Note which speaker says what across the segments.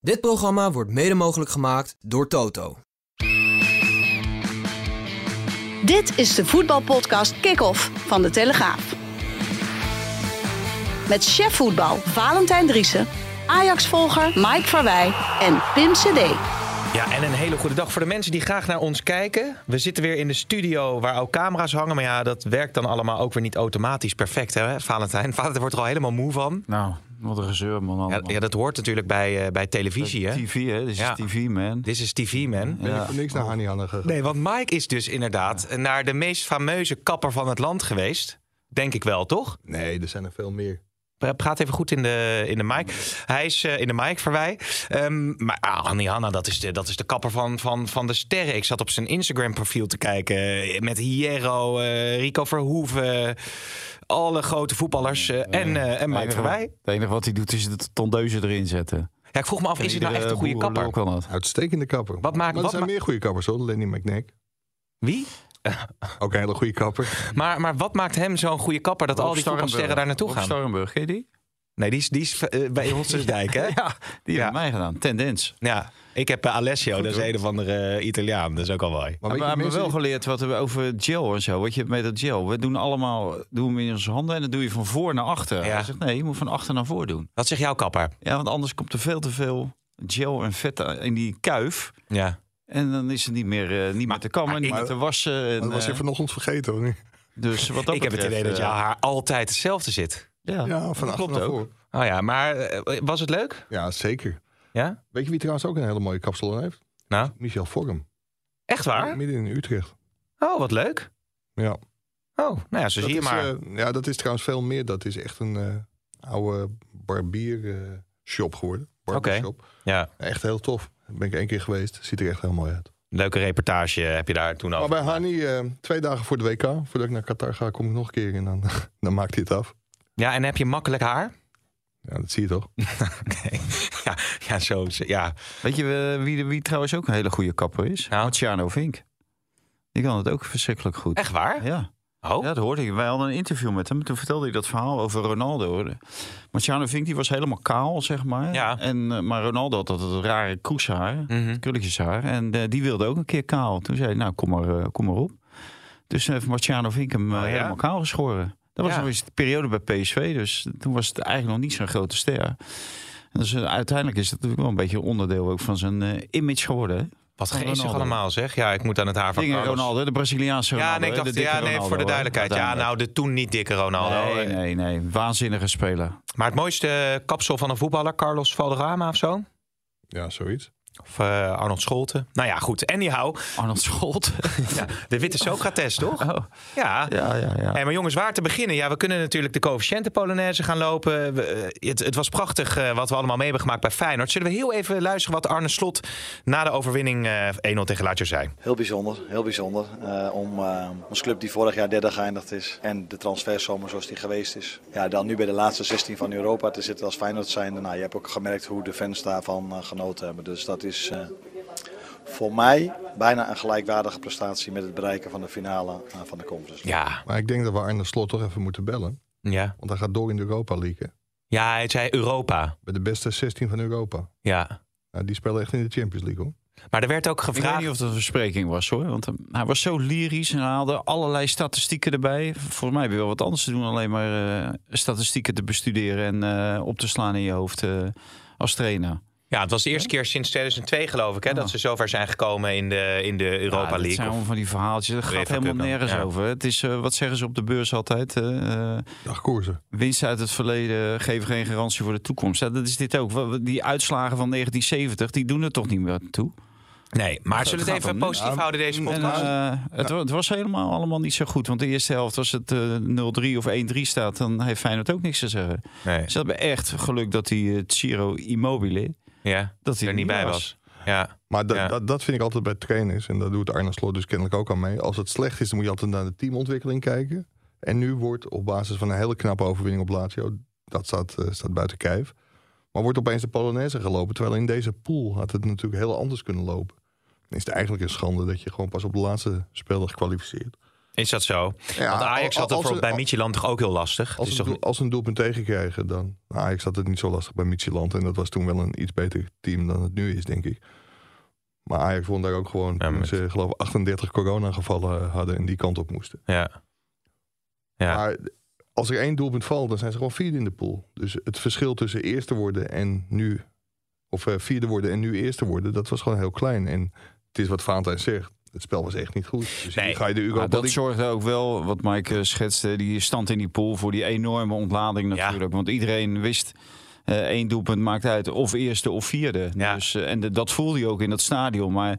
Speaker 1: Dit programma wordt mede mogelijk gemaakt door Toto.
Speaker 2: Dit is de voetbalpodcast Kick-Off van De Telegraaf. Met chef voetbal Valentijn Driessen, Ajax-volger Mike Verwij en Pim Cedee.
Speaker 3: Ja, en een hele goede dag voor de mensen die graag naar ons kijken. We zitten weer in de studio waar ook camera's hangen. Maar ja, dat werkt dan allemaal ook weer niet automatisch perfect, hè, Valentijn? Valentijn wordt er al helemaal moe van.
Speaker 4: Nou, wat een gezeur, Oh, man.
Speaker 3: Ja,
Speaker 4: allemaal.
Speaker 3: ja, dat hoort natuurlijk bij, eh, bij televisie, hè?
Speaker 4: TV, hè? Dit is
Speaker 3: Ja.
Speaker 4: TV, man.
Speaker 3: Dit is TV, man.
Speaker 5: Ben ik voor niks naar Hanihanne gegaan.
Speaker 3: Nee, want Mike is dus inderdaad naar de meest fameuze kapper van het land geweest. Denk ik wel, toch?
Speaker 5: Nee, er zijn er veel meer.
Speaker 3: Pra- Praat even goed in de, in de mic. Hij is eh, in de mic voor wij. Ehm, maar ah, Annie Hanna, dat is de, dat is de kapper van, van, van de sterren. Ik zat op zijn Instagram profiel te kijken. eh, Met Hierro, eh, Rico Verhoeven. Alle grote voetballers. eh, en, eh, en
Speaker 4: Het
Speaker 3: Mike
Speaker 4: enige-
Speaker 3: Verwij.
Speaker 4: Het enige wat hij doet is de tondeuzen erin zetten.
Speaker 3: Ja, ik vroeg me af, is hij nou
Speaker 4: Iedere
Speaker 3: echt een goede
Speaker 4: boer
Speaker 3: kapper?
Speaker 4: ook wel wat.
Speaker 5: Uitstekende kapper.
Speaker 3: Wat maakt-
Speaker 5: maar er
Speaker 3: wat
Speaker 5: zijn
Speaker 3: ma-
Speaker 5: meer goede kappers hoor. Lenny McNack.
Speaker 3: Wie?
Speaker 5: Ook een hele goede kapper.
Speaker 3: Maar, maar wat maakt hem zo'n goede kapper dat
Speaker 4: Rob
Speaker 3: al die
Speaker 4: Starrenburg.
Speaker 3: voetbalsterren daar naartoe
Speaker 4: Rob
Speaker 3: gaan?
Speaker 4: Starrenburg, ken je die?
Speaker 3: Nee, die is, die is eh, bij Hotsersdijk, hè?
Speaker 4: Ja, die
Speaker 3: Ja.
Speaker 4: hebben mij gedaan. Tendens.
Speaker 3: Ja, ik heb eh, Alessio, dat is een of andere eh, Italiaan. Dat is ook al mooi.
Speaker 5: Maar
Speaker 4: Maar
Speaker 5: weet
Speaker 4: we
Speaker 5: je,
Speaker 4: hebben
Speaker 5: mensen
Speaker 4: wel
Speaker 5: die-
Speaker 4: geleerd wat we over gel en zo. Wat je met dat gel. We doen allemaal doen we in onze handen en dat doe je van voor naar achter.
Speaker 3: Ja.
Speaker 4: Hij zegt nee, je moet van achter naar voor doen.
Speaker 3: Wat zegt jouw kapper?
Speaker 4: Ja, want anders komt er veel te veel gel en vet in die kuif.
Speaker 3: Ja.
Speaker 4: En dan is het niet meer, eh, niet meer te kammen, niet
Speaker 3: ik-
Speaker 4: meer te wassen. En,
Speaker 5: Dat was je
Speaker 4: eh,
Speaker 5: vanochtend vergeten hoor. nu.
Speaker 4: dus wat dat
Speaker 3: ik heb het
Speaker 4: betreft,
Speaker 3: idee dat
Speaker 4: eh,
Speaker 3: jouw haar altijd hetzelfde zit.
Speaker 4: Ja,
Speaker 5: Ja,
Speaker 4: dat
Speaker 5: van achter naar voor.
Speaker 3: Oh ja, maar eh, was het leuk?
Speaker 5: Ja, zeker.
Speaker 3: Ja?
Speaker 5: Weet je wie trouwens ook een hele mooie kapsalon heeft?
Speaker 3: Nou,
Speaker 5: Michel Vorm.
Speaker 3: echt waar?
Speaker 5: Midden in Utrecht.
Speaker 3: Oh, wat leuk.
Speaker 5: Ja.
Speaker 3: Oh, nou ja, zo
Speaker 5: Dat
Speaker 3: zie je
Speaker 5: is,
Speaker 3: maar.
Speaker 5: eh, ja, dat is trouwens veel meer. Dat is echt een eh, oude barbiershop shop geworden. Barbiershop.
Speaker 3: Ja,
Speaker 5: Echt heel tof. Daar ben ik één keer geweest. Ziet er echt heel mooi uit.
Speaker 3: leuke reportage heb je daar toen
Speaker 5: Maar
Speaker 3: over.
Speaker 5: bij Hani, eh, twee dagen voor de WK, voordat ik naar Qatar ga, kom ik nog een keer en dan, dan maakt hij het af.
Speaker 3: Ja, en heb je makkelijk haar?
Speaker 5: Ja, dat zie je toch?
Speaker 3: Nee. ja, ja, zo. zo- Ja.
Speaker 4: Weet je eh, wie, wie trouwens ook een hele goede kapper is?
Speaker 3: Nou.
Speaker 4: Marciano Vink. Die kan het ook verschrikkelijk goed.
Speaker 3: Echt waar?
Speaker 4: Ja.
Speaker 3: Oh,
Speaker 4: ja, dat hoorde ik. Wij hadden een interview met hem. Toen vertelde hij dat verhaal over Ronaldo. Marciano Vink die was helemaal kaal, zeg maar.
Speaker 3: Ja.
Speaker 4: En, eh, maar Ronaldo had dat, dat rare kroeshaar,
Speaker 3: Mhm.
Speaker 4: krulletjeshaar. En eh, die wilde ook een keer kaal. Toen zei hij, nou, kom maar, eh, kom maar op. Dus heeft Marciano Vink hem eh,
Speaker 3: Oh, ja?
Speaker 4: helemaal kaal geschoren. Dat was
Speaker 3: Ja.
Speaker 4: nog eens de periode bij PSV. Dus toen was het eigenlijk nog niet zo'n grote ster. En dus, eh, uiteindelijk is dat natuurlijk wel een beetje een onderdeel ook van zijn eh, image geworden. hè?
Speaker 3: wat
Speaker 4: van
Speaker 3: geestig
Speaker 4: Ronaldo.
Speaker 3: allemaal zeg. Ja, ik moet aan het haar van
Speaker 4: Dingen
Speaker 3: Carlos.
Speaker 4: Ronaldo, de Braziliaanse Ronaldo.
Speaker 3: Ja, nee, ik
Speaker 4: hè, de
Speaker 3: dacht,
Speaker 4: dikke
Speaker 3: ja, nee,
Speaker 4: Ronaldo,
Speaker 3: voor de
Speaker 4: hè,
Speaker 3: duidelijkheid. Ja,
Speaker 4: uiteindelijk.
Speaker 3: nou, de toen niet dikke Ronaldo. Eh,
Speaker 4: Nee, nee, nee. Waanzinnige speler.
Speaker 3: Maar het mooiste eh, kapsel van een voetballer, Carlos Valderrama of zo?
Speaker 5: Ja, zoiets.
Speaker 3: Of eh, Arnold Scholten. Nou ja, goed. Anyhow,
Speaker 4: Arnold Scholt.
Speaker 3: ja, de witte Socrates, toch?
Speaker 4: Oh,
Speaker 3: Ja.
Speaker 4: ja, ja, ja.
Speaker 3: Hey, maar jongens, waar te beginnen? Ja, we kunnen natuurlijk de coëfficiënten Polonaise gaan lopen. We, eh, het, het was prachtig eh, wat we allemaal mee hebben gemaakt bij Feyenoord. Zullen we heel even luisteren wat Arne Slot na de overwinning eh 1-0 tegen Lazio zei?
Speaker 6: Heel bijzonder, heel bijzonder. eh, om eh, ons club die vorig jaar derde geëindigd is en de transferzomer zoals die geweest is. Ja, dan nu bij de laatste 16 van Europa te zitten als Feyenoord zijnde. Nou, je hebt ook gemerkt hoe de fans daarvan eh, genoten hebben. Dus dat is eh, voor mij bijna een gelijkwaardige prestatie met het bereiken van de finale eh, van de Conference. League.
Speaker 3: Ja,
Speaker 5: Maar ik denk dat we Arne Slot toch even moeten bellen.
Speaker 3: ja.
Speaker 5: Want hij gaat door in de Europa League. hè.
Speaker 3: Ja, hij zei Europa.
Speaker 5: Bij de beste 16 van Europa.
Speaker 3: Ja.
Speaker 5: Nou, die spelen echt in de Champions League hoor.
Speaker 3: Maar er werd ook
Speaker 4: Ik weet
Speaker 3: gevraagd...
Speaker 4: niet of dat een verspreking was hoor. Want eh, hij was zo lyrisch en hij haalde allerlei statistieken erbij. Volgens mij heb je wel wat anders te doen. Alleen maar eh, statistieken te bestuderen en eh, op te slaan in je hoofd eh, als trainer.
Speaker 3: Ja, het was de eerste keer sinds 2002 geloof ik hè, dat ze zover zijn gekomen in de, in de
Speaker 4: Oh. Ja,
Speaker 3: Europa
Speaker 4: dat
Speaker 3: League.
Speaker 4: zijn allemaal van die verhaaltjes. Dat gaat
Speaker 3: UEFA
Speaker 4: helemaal
Speaker 3: Cup dan,
Speaker 4: nergens
Speaker 3: ja.
Speaker 4: over. Het is, eh, wat zeggen ze op de beurs altijd? eh, eh,
Speaker 5: Dagkoersen.
Speaker 4: Winsten uit het verleden geven geen garantie voor de toekomst. Ja, dat is dit ook. Wa- wa- Die uitslagen van 1970, die doen er toch niet meer toe.
Speaker 3: Nee, maar
Speaker 4: Het
Speaker 3: zullen we
Speaker 4: gaat
Speaker 3: het even
Speaker 4: om niks.
Speaker 3: positief houden deze
Speaker 4: En,
Speaker 3: podcast?
Speaker 4: eh, het, wa- het was helemaal allemaal niet zo goed. Want de eerste helft, als het eh, 0-3 of 1-3 staat, dan heeft Feyenoord ook niks te zeggen.
Speaker 3: nee.
Speaker 4: Ze hebben echt geluk dat die eh Ciro Immobile...
Speaker 3: Ja,
Speaker 4: Dat hij
Speaker 3: er niet bij was. Ja.
Speaker 5: Maar dat,
Speaker 3: Ja.
Speaker 5: dat, dat vind ik altijd bij trainers. En dat doet Arne Slot dus kennelijk ook aan mee. Als het slecht is, dan moet je altijd naar de teamontwikkeling kijken. En nu wordt op basis van een hele knappe overwinning op Lazio. Dat staat, eh, staat buiten kijf. Maar wordt opeens de Polonaise gelopen. Terwijl in deze pool had het natuurlijk heel anders kunnen lopen. Dan is het eigenlijk een schande dat je gewoon pas op de laatste speeldag kwalificeert.
Speaker 3: Is dat zo?
Speaker 5: Ja,
Speaker 3: Want Ajax had
Speaker 5: als-
Speaker 3: het voor,
Speaker 5: als-
Speaker 3: bij Micheland toch ook heel lastig.
Speaker 5: Als,
Speaker 3: Dus
Speaker 5: een
Speaker 3: toch-
Speaker 5: doel- als een doelpunt tegenkrijgen, dan... Nou, Ajax had het niet zo lastig bij Midtjylland. En dat was toen wel een iets beter team dan het nu is, denk ik. Maar Ajax won daar ook gewoon...
Speaker 3: Ja,
Speaker 5: toen
Speaker 3: met-
Speaker 5: ze, geloof ik, 38 coronagevallen hadden en die kant op moesten.
Speaker 3: ja. Ja.
Speaker 5: Maar als er één doelpunt valt, dan zijn ze gewoon vierde in de pool. Dus het verschil tussen eerste worden en nu... Of eh, vierde worden en nu eerste worden, dat was gewoon heel klein. En het is wat Valentijn zegt. Het spel was echt niet goed. Dus
Speaker 3: Nee,
Speaker 5: hier ga je de Europa
Speaker 4: Maar dat
Speaker 5: League-
Speaker 4: zorgde ook wel, wat Mike eh, schetste, die stand in die pool voor die enorme ontlading natuurlijk. Want iedereen wist, eh één doelpunt maakt uit of eerste of vierde.
Speaker 3: Ja.
Speaker 4: Dus, eh, en de- dat voelde je ook in dat stadion. Maar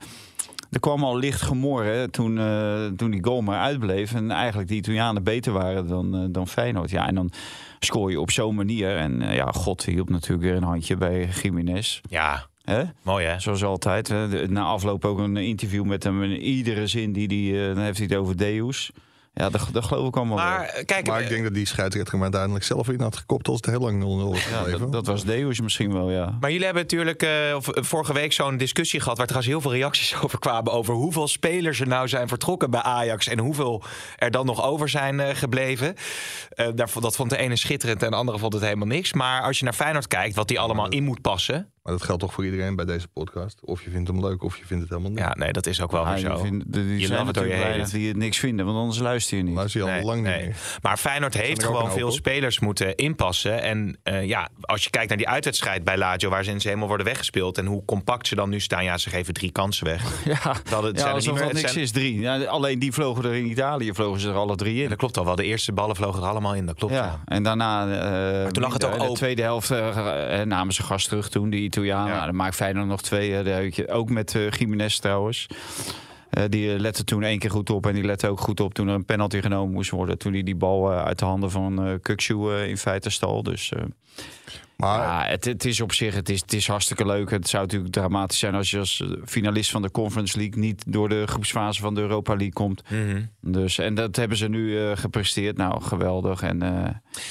Speaker 4: er kwam al licht gemor hè, toen, eh, toen die goal maar uitbleef. En eigenlijk die Italianen beter waren dan, eh, dan Feyenoord. Ja, en dan scoor je op zo'n manier. En eh, ja, God hielp natuurlijk weer een handje bij Jiménez.
Speaker 3: ja,
Speaker 4: Hè?
Speaker 3: mooi hè?
Speaker 4: Zoals altijd. hè. De- Na afloop ook een interview met hem. En iedere zin die, die eh, dan heeft hij het over Deus. Ja, dat, dat geloof ik allemaal
Speaker 3: Maar
Speaker 4: wel.
Speaker 3: eh, kijk,
Speaker 5: Maar
Speaker 3: eh,
Speaker 5: ik denk dat die scheidsrechter hem uiteindelijk zelf in had gekopt... als het heel lang 0-0 was gebleven.
Speaker 4: Ja, dat, dat was Deus misschien wel, ja.
Speaker 3: Maar jullie hebben natuurlijk eh, v- vorige week zo'n discussie gehad... waar trouwens heel veel reacties over kwamen... over hoeveel spelers er nou zijn vertrokken bij Ajax... en hoeveel er dan nog over zijn eh, gebleven. Eh, daar, dat vond de ene schitterend en de andere vond het helemaal niks. Maar als je naar Feyenoord kijkt, wat die allemaal in moet passen...
Speaker 5: Maar dat geldt toch voor iedereen bij deze podcast. Of je vindt hem leuk of je vindt het helemaal niet.
Speaker 3: Ja, nee, dat is ook wel
Speaker 4: Ah,
Speaker 3: weer
Speaker 4: die
Speaker 3: zo.
Speaker 4: vind- die
Speaker 3: Je
Speaker 4: zijn
Speaker 3: love it or you
Speaker 4: natuurlijk
Speaker 3: hate
Speaker 4: weinig
Speaker 3: it.
Speaker 4: die het niks vinden, want anders luister je niet.
Speaker 5: Maar zie je al
Speaker 3: Nee,
Speaker 5: lang niet
Speaker 3: nee.
Speaker 5: meer.
Speaker 3: Maar Feyenoord heeft
Speaker 5: er ook
Speaker 3: gewoon
Speaker 5: een hoop,
Speaker 3: veel
Speaker 5: hoor.
Speaker 3: spelers moeten inpassen. En eh, ja, als je kijkt naar die uitwedstrijd bij Lazio... waar ze in ze helemaal worden weggespeeld... en hoe compact ze dan nu staan... ja, ze geven drie kansen weg.
Speaker 4: ja,
Speaker 3: Dat het- zijn er
Speaker 4: ja,
Speaker 3: niet meer-
Speaker 4: alsof dat
Speaker 3: het
Speaker 4: niks
Speaker 3: zijn-
Speaker 4: is, drie. Ja, alleen die vlogen er in Italië, vlogen ze er alle drie
Speaker 3: Ja,
Speaker 4: in.
Speaker 3: dat klopt al wel. De eerste ballen vlogen er allemaal in, dat klopt. ja.
Speaker 4: Ja, en daarna... eh,
Speaker 3: toen lag het ook
Speaker 4: in de
Speaker 3: open.
Speaker 4: tweede helft eh, eh, namen ze gas terug toen, die Italianen.
Speaker 3: Ja.
Speaker 4: Nou, dan maakt Feyenoord nog twee. eh, daar heb je- ook met eh Jiménez trouwens. Eh, die eh, lette toen één keer goed op. En die lette ook goed op toen er een penalty genomen moest worden. Toen hij die bal eh, uit de handen van eh Kukçu eh, in feite stal. Dus eh,
Speaker 3: Ah.
Speaker 5: Maar
Speaker 4: ja, het, het is op zich het is, het is hartstikke leuk. Het zou natuurlijk dramatisch zijn als je als eh, finalist van de Conference League... niet door de groepsfase van de Europa League komt.
Speaker 3: Mhm.
Speaker 4: Dus, en dat hebben ze nu eh, gepresteerd. Nou, geweldig. En, eh,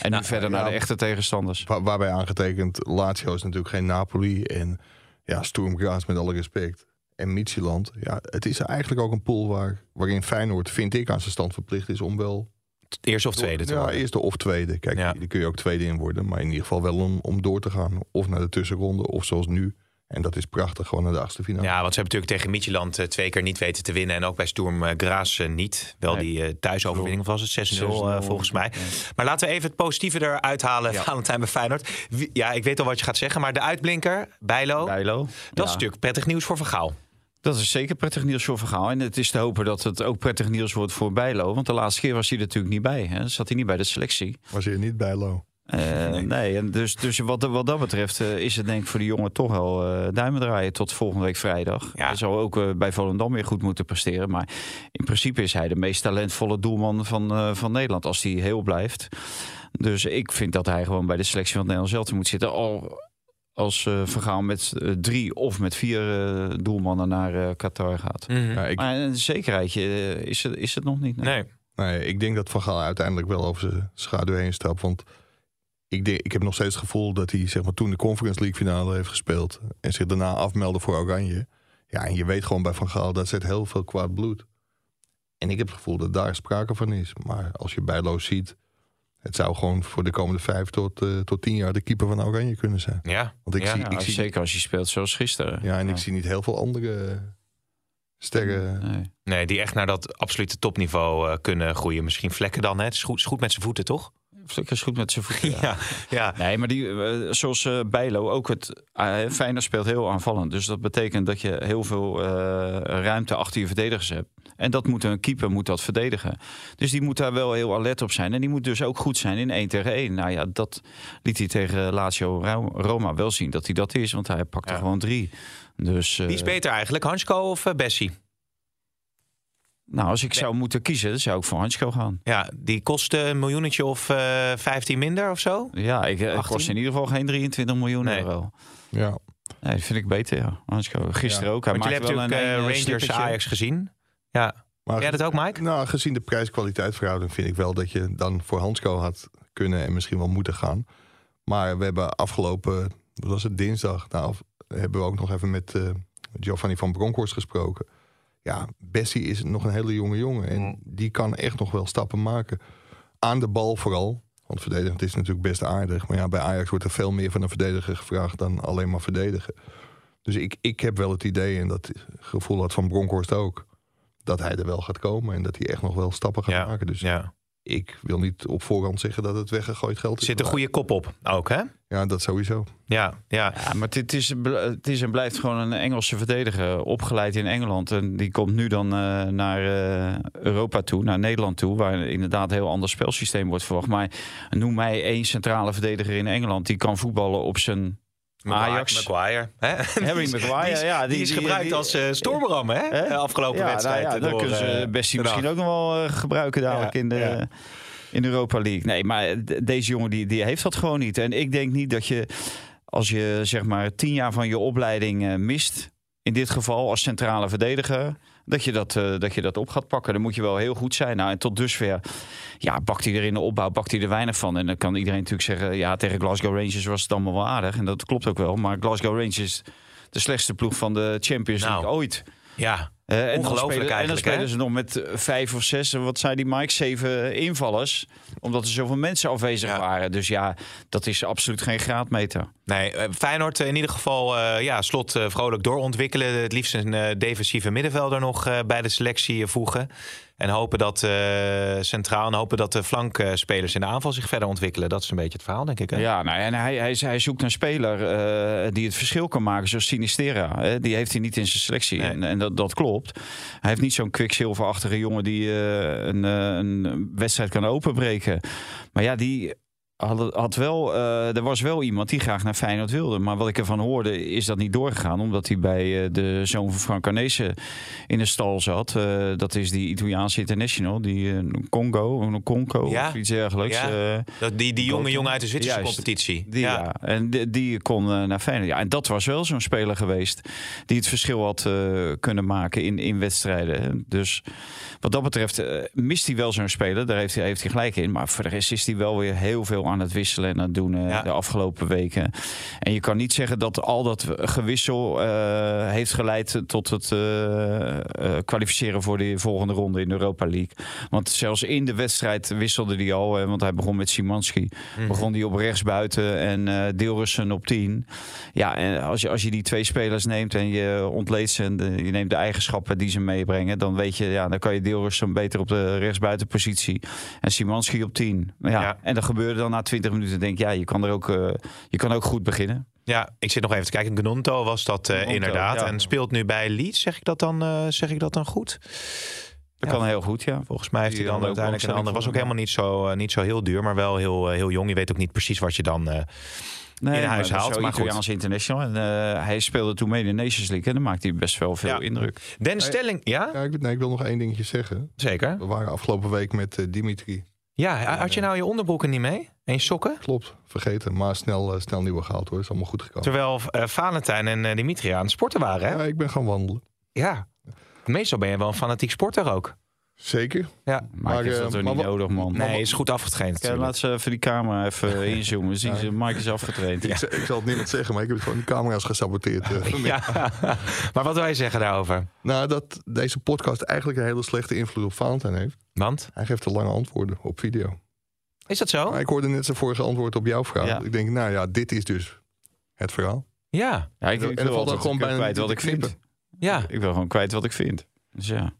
Speaker 4: en nu verder naar
Speaker 5: ja.
Speaker 4: de echte tegenstanders.
Speaker 5: wa- waarbij aangetekend, Lazio is natuurlijk geen Napoli. En ja, Sturm Graz met alle respect. En Midtjylland. Ja, het is eigenlijk ook een pool waar, waarin Feyenoord, vind ik, aan zijn stand verplicht is om wel...
Speaker 3: Eerste of tweede te
Speaker 5: Ja,
Speaker 3: worden.
Speaker 5: eerste of tweede. Kijk,
Speaker 3: Ja.
Speaker 5: daar kun je ook tweede in worden. Maar in ieder geval wel om, om door te gaan. Of naar de tussenronde, of zoals nu. En dat is prachtig, gewoon naar de achtste finale.
Speaker 3: Ja, want ze hebben natuurlijk tegen Midtjylland eh, twee keer niet weten te winnen. En ook bij Sturm eh, Graas eh, niet. Wel
Speaker 4: Nee.
Speaker 3: die eh, thuisoverwinning of was het 6-0 eh,
Speaker 4: 6-0,
Speaker 3: volgens mij.
Speaker 4: ja.
Speaker 3: Maar laten we even het positieve eruit halen. Valentijn bij Feyenoord. Wie- ja, ik weet al wat je gaat zeggen. Maar de uitblinker, Bijlo.
Speaker 4: Bijlo.
Speaker 3: Dat is
Speaker 4: Ja.
Speaker 3: natuurlijk prettig nieuws voor Vergaal.
Speaker 4: Dat is zeker prettig nieuws voor Vergaal. En het is te hopen dat het ook prettig nieuws wordt voor Bijlo. Want de laatste keer was hij er natuurlijk niet bij. Hè? Zat hij niet bij de selectie.
Speaker 5: Maar ze niet bij Lo.
Speaker 4: Eh, nee. en dus, dus wat, wat dat betreft eh, is het denk ik voor de jongen toch wel eh duimen draaien tot volgende week vrijdag.
Speaker 3: Ja.
Speaker 4: Hij zal ook eh, bij Volendam weer goed moeten presteren. Maar in principe is hij de meest talentvolle doelman van, eh, van Nederland als hij heel blijft. Dus ik vind dat hij gewoon bij de selectie van het Nederlands zelf moet zitten. Al als eh Vergaal met eh, drie of met vier eh, doelmannen naar eh, Qatar gaat.
Speaker 5: Ja, ik,
Speaker 4: Maar een zekerheidje eh, is, het, is het nog niet.
Speaker 3: Mhm. Nee.
Speaker 5: Nou ja, ik denk dat Van Gaal uiteindelijk wel over zijn schaduw heen stapt. Want ik, denk, ik heb nog steeds het gevoel dat hij zeg maar, toen de Conference League finale heeft gespeeld... en zich daarna afmeldde voor Oranje. Ja, en je weet gewoon bij Van Gaal, dat zit heel veel kwaad bloed. En ik heb het gevoel dat daar sprake van is. Maar als je Bijlo ziet, het zou gewoon voor de komende vijf tot, eh, tot tien jaar... de keeper van Oranje kunnen zijn.
Speaker 3: Ja.
Speaker 5: Want ik
Speaker 3: Ja,
Speaker 5: zie,
Speaker 4: Ja,
Speaker 5: ik zie,
Speaker 4: zeker als je speelt zoals gisteren.
Speaker 5: ja, en ik zie niet heel veel andere sterren...
Speaker 4: Nee.
Speaker 3: Nee, die echt naar dat absolute topniveau eh, kunnen groeien. Misschien vlekken dan. Hè? Het is goed, is goed met zijn voeten, toch?
Speaker 4: Flikker is goed met zijn voeten.
Speaker 3: Ja.
Speaker 4: ja.
Speaker 3: ja.
Speaker 4: Nee, maar die, eh, zoals eh, Bijlo ook het eh Feyenoord speelt heel aanvallend. Dus dat betekent dat je heel veel eh, ruimte achter je verdedigers hebt. En dat moet een keeper moet dat verdedigen. Dus die moet daar wel heel alert op zijn. En die moet dus ook goed zijn in 1 tegen 1. Nou ja, dat liet hij tegen Lazio Ra- Roma wel zien dat hij dat is. Want hij pakte
Speaker 3: Ja.
Speaker 4: gewoon drie. Dus, eh,
Speaker 3: Wie is beter eigenlijk? Hansko of eh, Bessie?
Speaker 4: Nou, als ik zou moeten kiezen, dan zou ik voor Hansko gaan.
Speaker 3: Ja, die kost eh, een miljoenetje of eh 15 minder of zo.
Speaker 4: Ja, ik, eh, het
Speaker 3: 18?
Speaker 4: kost in ieder geval geen 23 miljoen
Speaker 3: Nee.
Speaker 4: euro.
Speaker 5: Ja,
Speaker 4: Nee, dat vind ik beter, ja. Hansko, gisteren
Speaker 5: Ja.
Speaker 4: ook. Hij
Speaker 3: Want jullie
Speaker 4: maakte
Speaker 3: hebben
Speaker 4: wel
Speaker 3: natuurlijk eh,
Speaker 4: een één, eh,
Speaker 3: Rangers
Speaker 4: slippertje.
Speaker 3: Ajax gezien. Ja.
Speaker 5: maar
Speaker 3: Jij dat ook, Mike?
Speaker 5: Nou, gezien de prijs-kwaliteit verhouding vind ik wel dat je dan voor Hansco had kunnen en misschien wel moeten gaan. Maar we hebben afgelopen, wat was het dinsdag, nou, hebben we ook nog even met eh, Giovanni van Bronckhorst gesproken. ja, Bessie is nog een hele jonge jongen. En
Speaker 7: Mm.
Speaker 5: die kan echt nog wel stappen maken. Aan de bal vooral. Want verdedigend is natuurlijk best aardig. Maar ja, bij Ajax wordt er veel meer van een verdediger gevraagd dan alleen maar verdedigen. Dus ik, ik heb wel het idee, en dat gevoel had van Bronkhorst ook, dat hij er wel gaat komen. En dat hij echt nog wel stappen gaat
Speaker 3: Ja,
Speaker 5: maken. Dus
Speaker 3: ja.
Speaker 5: ik wil niet op voorhand zeggen dat het weggegooid geld
Speaker 3: Er
Speaker 5: is.
Speaker 3: zit een
Speaker 5: Maar-
Speaker 3: goede kop op ook, hè?
Speaker 5: Ja, dat sowieso.
Speaker 3: Ja, ja.
Speaker 4: Ja, maar dit is, het is en blijft gewoon een Engelse verdediger, opgeleid in Engeland. En die komt nu dan eh, naar eh, Europa toe, naar Nederland toe, waar inderdaad een heel ander spelsysteem wordt verwacht. Maar noem mij één centrale verdediger in Engeland die kan voetballen op zijn
Speaker 3: Maguire-
Speaker 4: Ajax.
Speaker 3: Maguire. Hè?
Speaker 4: Harry Maguire,
Speaker 3: die is,
Speaker 4: ja,
Speaker 3: Die,
Speaker 4: die-
Speaker 3: is
Speaker 4: die-
Speaker 3: gebruikt
Speaker 4: die-
Speaker 3: als eh stormram, hè?
Speaker 4: Hè?
Speaker 3: De afgelopen wedstrijd.
Speaker 4: nou ja,
Speaker 3: door,
Speaker 4: dat kunnen ze
Speaker 3: eh,
Speaker 4: best
Speaker 3: Den Haag.
Speaker 4: misschien ook nog wel eh, gebruiken dadelijk
Speaker 3: Ja,
Speaker 4: in de
Speaker 3: ja.
Speaker 4: in de Europa League. Nee, maar d- deze jongen die, die heeft dat gewoon niet. En ik denk niet dat je als je zeg maar tien jaar van je opleiding eh, mist, in dit geval als centrale verdediger, dat je dat, eh, dat je dat op gaat pakken. Dan moet je wel heel goed zijn. Nou, en tot dusver, ja, bakt hij er in de opbouw, bakt hij er weinig van. En dan kan iedereen natuurlijk zeggen, ja, tegen Glasgow Rangers was het allemaal wel aardig. En dat klopt ook wel. Maar Glasgow Rangers is de slechtste ploeg van de Champions
Speaker 3: Nou.
Speaker 4: League ooit.
Speaker 3: Ja,
Speaker 4: Eh, en, dan
Speaker 3: Ongelooflijk
Speaker 4: spelen, en dan
Speaker 3: eigenlijk, hè?
Speaker 4: spelen ze nog met eh, vijf of zes, eh, wat zei die Mike, zeven eh, invallers. Omdat er zoveel mensen afwezig
Speaker 3: Ja.
Speaker 4: waren. Dus ja, dat is absoluut geen graadmeter.
Speaker 3: Nee, eh, Feyenoord eh, in ieder geval eh, ja, slot eh, vrolijk doorontwikkelen. Het liefst een eh, defensieve middenvelder nog eh, bij de selectie eh, voegen. En hopen dat eh, centraal en hopen dat de flankspelers in de aanval zich verder ontwikkelen. Dat is een beetje het verhaal, denk ik. Hè?
Speaker 4: Ja, nou, en hij, hij, hij zoekt een speler eh, die het verschil kan maken, zoals Sinistera. hè. die heeft hij niet in zijn selectie.
Speaker 3: Nee.
Speaker 4: En, en dat, dat klopt. Hij heeft niet zo'n kwikzilverachtige jongen die eh, een, eh, een wedstrijd kan openbreken. Maar ja, die had, had wel, eh, er was wel iemand die graag naar Feyenoord wilde. Maar wat ik ervan hoorde, is dat niet doorgegaan. Omdat hij bij eh, de zoon van Frank Arnezen in de stal zat. Eh, dat is die Italiaanse international, die eh, Congo, Conco
Speaker 3: Ja.
Speaker 4: of iets dergelijks.
Speaker 3: Ja.
Speaker 4: eh,
Speaker 3: Dat, die, die jonge
Speaker 4: Boten.
Speaker 3: jongen uit de Zwitserse
Speaker 4: Juist.
Speaker 3: competitie.
Speaker 4: die, ja. En die, die kon eh, naar Feyenoord. Ja, en dat was wel zo'n speler geweest die het verschil had eh, kunnen maken in, in wedstrijden. Dus wat dat betreft eh, mist hij wel zo'n speler. Daar heeft hij, heeft hij gelijk in. Maar voor de rest is hij wel weer heel veel aan het wisselen en aan het doen eh,
Speaker 3: Ja.
Speaker 4: de afgelopen weken. En je kan niet zeggen dat al dat gewissel eh, heeft geleid tot het eh, eh, kwalificeren voor de volgende ronde in de Europa League. Want zelfs in de wedstrijd wisselde hij al. eh, want hij begon met Simanski. Begon hij op rechts buiten en eh Deelrussen op 10. Ja, en als je, als je die twee spelers neemt en je ontleedt ze en de- je neemt de eigenschappen die ze meebrengen, dan weet je, ja, dan kan je Deelrussen beter op de rechtsbuitenpositie en Simanski op 10. Maar Ja,
Speaker 3: Ja.
Speaker 4: En dat gebeurde dan na 20 minuten. Ik Denk ja, je kan er ook, eh, je kan ook goed beginnen.
Speaker 3: Ja, ik zit nog even te kijken. Gnonto was dat eh,
Speaker 4: Gnonto,
Speaker 3: inderdaad.
Speaker 4: ja.
Speaker 3: En speelt nu bij Leeds. Zeg ik dat dan, eh, zeg ik dat dan goed?
Speaker 4: Dat
Speaker 3: Ja.
Speaker 4: kan heel goed, ja.
Speaker 3: Volgens mij heeft
Speaker 4: Die
Speaker 3: hij dan
Speaker 4: hadden ook
Speaker 3: uiteindelijk een
Speaker 4: belangstelling
Speaker 3: ander. Was
Speaker 4: voor
Speaker 3: ook
Speaker 4: hem,
Speaker 3: helemaal niet zo, eh, niet zo heel duur, maar wel heel, eh, heel jong. Je weet ook niet precies wat je dan. eh,
Speaker 4: Nee,
Speaker 3: In huis
Speaker 4: maar dat is
Speaker 3: haalt,
Speaker 4: wel
Speaker 3: maar goed.
Speaker 4: Italiaans international. En eh, hij speelde toen mee in de Nations League en dan maakte hij best wel veel
Speaker 3: Ja.
Speaker 4: indruk.
Speaker 3: Den Stelling, ja?
Speaker 5: Ja, ik, wil- nee, ik wil nog één dingetje zeggen.
Speaker 3: Zeker.
Speaker 5: We waren afgelopen week met eh, Dimitri.
Speaker 3: Ja, had je nou je onderbroeken niet mee? En je sokken?
Speaker 5: Klopt, vergeten. Maar snel, eh, snel nieuwe gehaald hoor. Is allemaal goed gekomen.
Speaker 3: Terwijl eh, Valentijn en eh, Dimitri aan het sporten waren, hè?
Speaker 5: Ja, ik ben gaan wandelen.
Speaker 3: Ja. Meestal ben je wel een fanatiek sporter ook.
Speaker 5: Zeker.
Speaker 3: Ja.
Speaker 4: Maar,
Speaker 5: Maar,
Speaker 4: ik heb
Speaker 5: eh,
Speaker 4: dat toch
Speaker 5: maar
Speaker 4: niet
Speaker 5: wa-
Speaker 4: nodig, man.
Speaker 3: Nee, is goed afgetraind.
Speaker 4: Kijk,
Speaker 3: natuurlijk.
Speaker 4: laat ze even die camera even inzoomen. Zien ze, Mike is afgetraind.
Speaker 5: Ik, z- ik zal het niemand zeggen, maar ik heb gewoon de camera's gesaboteerd. eh, vanmiddag.
Speaker 3: Ja. maar wat wij zeggen daarover?
Speaker 5: Nou, dat deze podcast eigenlijk een hele slechte invloed op Valentijn heeft.
Speaker 3: Want,
Speaker 5: Hij geeft te lange antwoorden op video.
Speaker 3: Oh. is dat zo?
Speaker 5: Maar ik hoorde net zijn vorige antwoord op jouw vraag.
Speaker 4: Ja.
Speaker 5: Ik denk, nou ja, dit is dus het verhaal.
Speaker 3: Ja.
Speaker 4: Ja, ik,
Speaker 5: En
Speaker 4: ik wil
Speaker 5: dat valt
Speaker 4: altijd
Speaker 5: ook gewoon
Speaker 4: gewoon
Speaker 5: bijna
Speaker 4: kwijt
Speaker 5: niet
Speaker 4: wat ik
Speaker 5: te
Speaker 4: vind.
Speaker 3: Ja.
Speaker 4: Ik wil gewoon kwijt wat ik vind. Dus ja.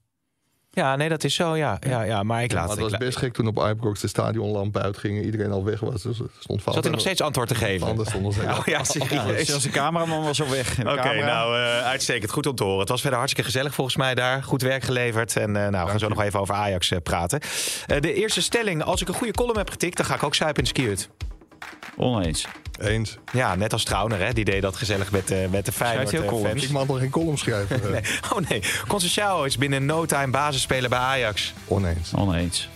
Speaker 3: ja, nee, dat is zo, ja. ja, ja maar ik laat
Speaker 5: maar het
Speaker 3: ik
Speaker 5: was
Speaker 3: la-
Speaker 5: best gek toen op Ibrox de stadionlampen uitgingen. Iedereen al weg was. Dus er stond Valentijn
Speaker 3: Zat hij nog steeds antwoord te geven?
Speaker 5: Anders stond nog steeds.
Speaker 3: Oh ja, serieus.
Speaker 4: zelfs dus de cameraman was al weg.
Speaker 3: Oké, nou, eh, uitstekend. Goed om te horen. Het was verder hartstikke gezellig volgens mij daar. Goed werk geleverd. En eh, nou, we gaan zo nog even over Ajax eh, praten. Eh, de eerste stelling, als ik een goede column heb getikt... dan ga ik ook zuipen in skiut.
Speaker 4: Oneens.
Speaker 5: Eens.
Speaker 3: Ja, net als Trauner, hè. Die deed dat gezellig met, eh, met de Feyenoord
Speaker 4: heel
Speaker 3: eh,
Speaker 4: columns.
Speaker 3: fans.
Speaker 5: Ik mag nog geen column schrijven. eh,
Speaker 3: Oh nee, Concecao is binnen no time basisspeler bij Ajax.
Speaker 5: Oneens.
Speaker 4: Oneens.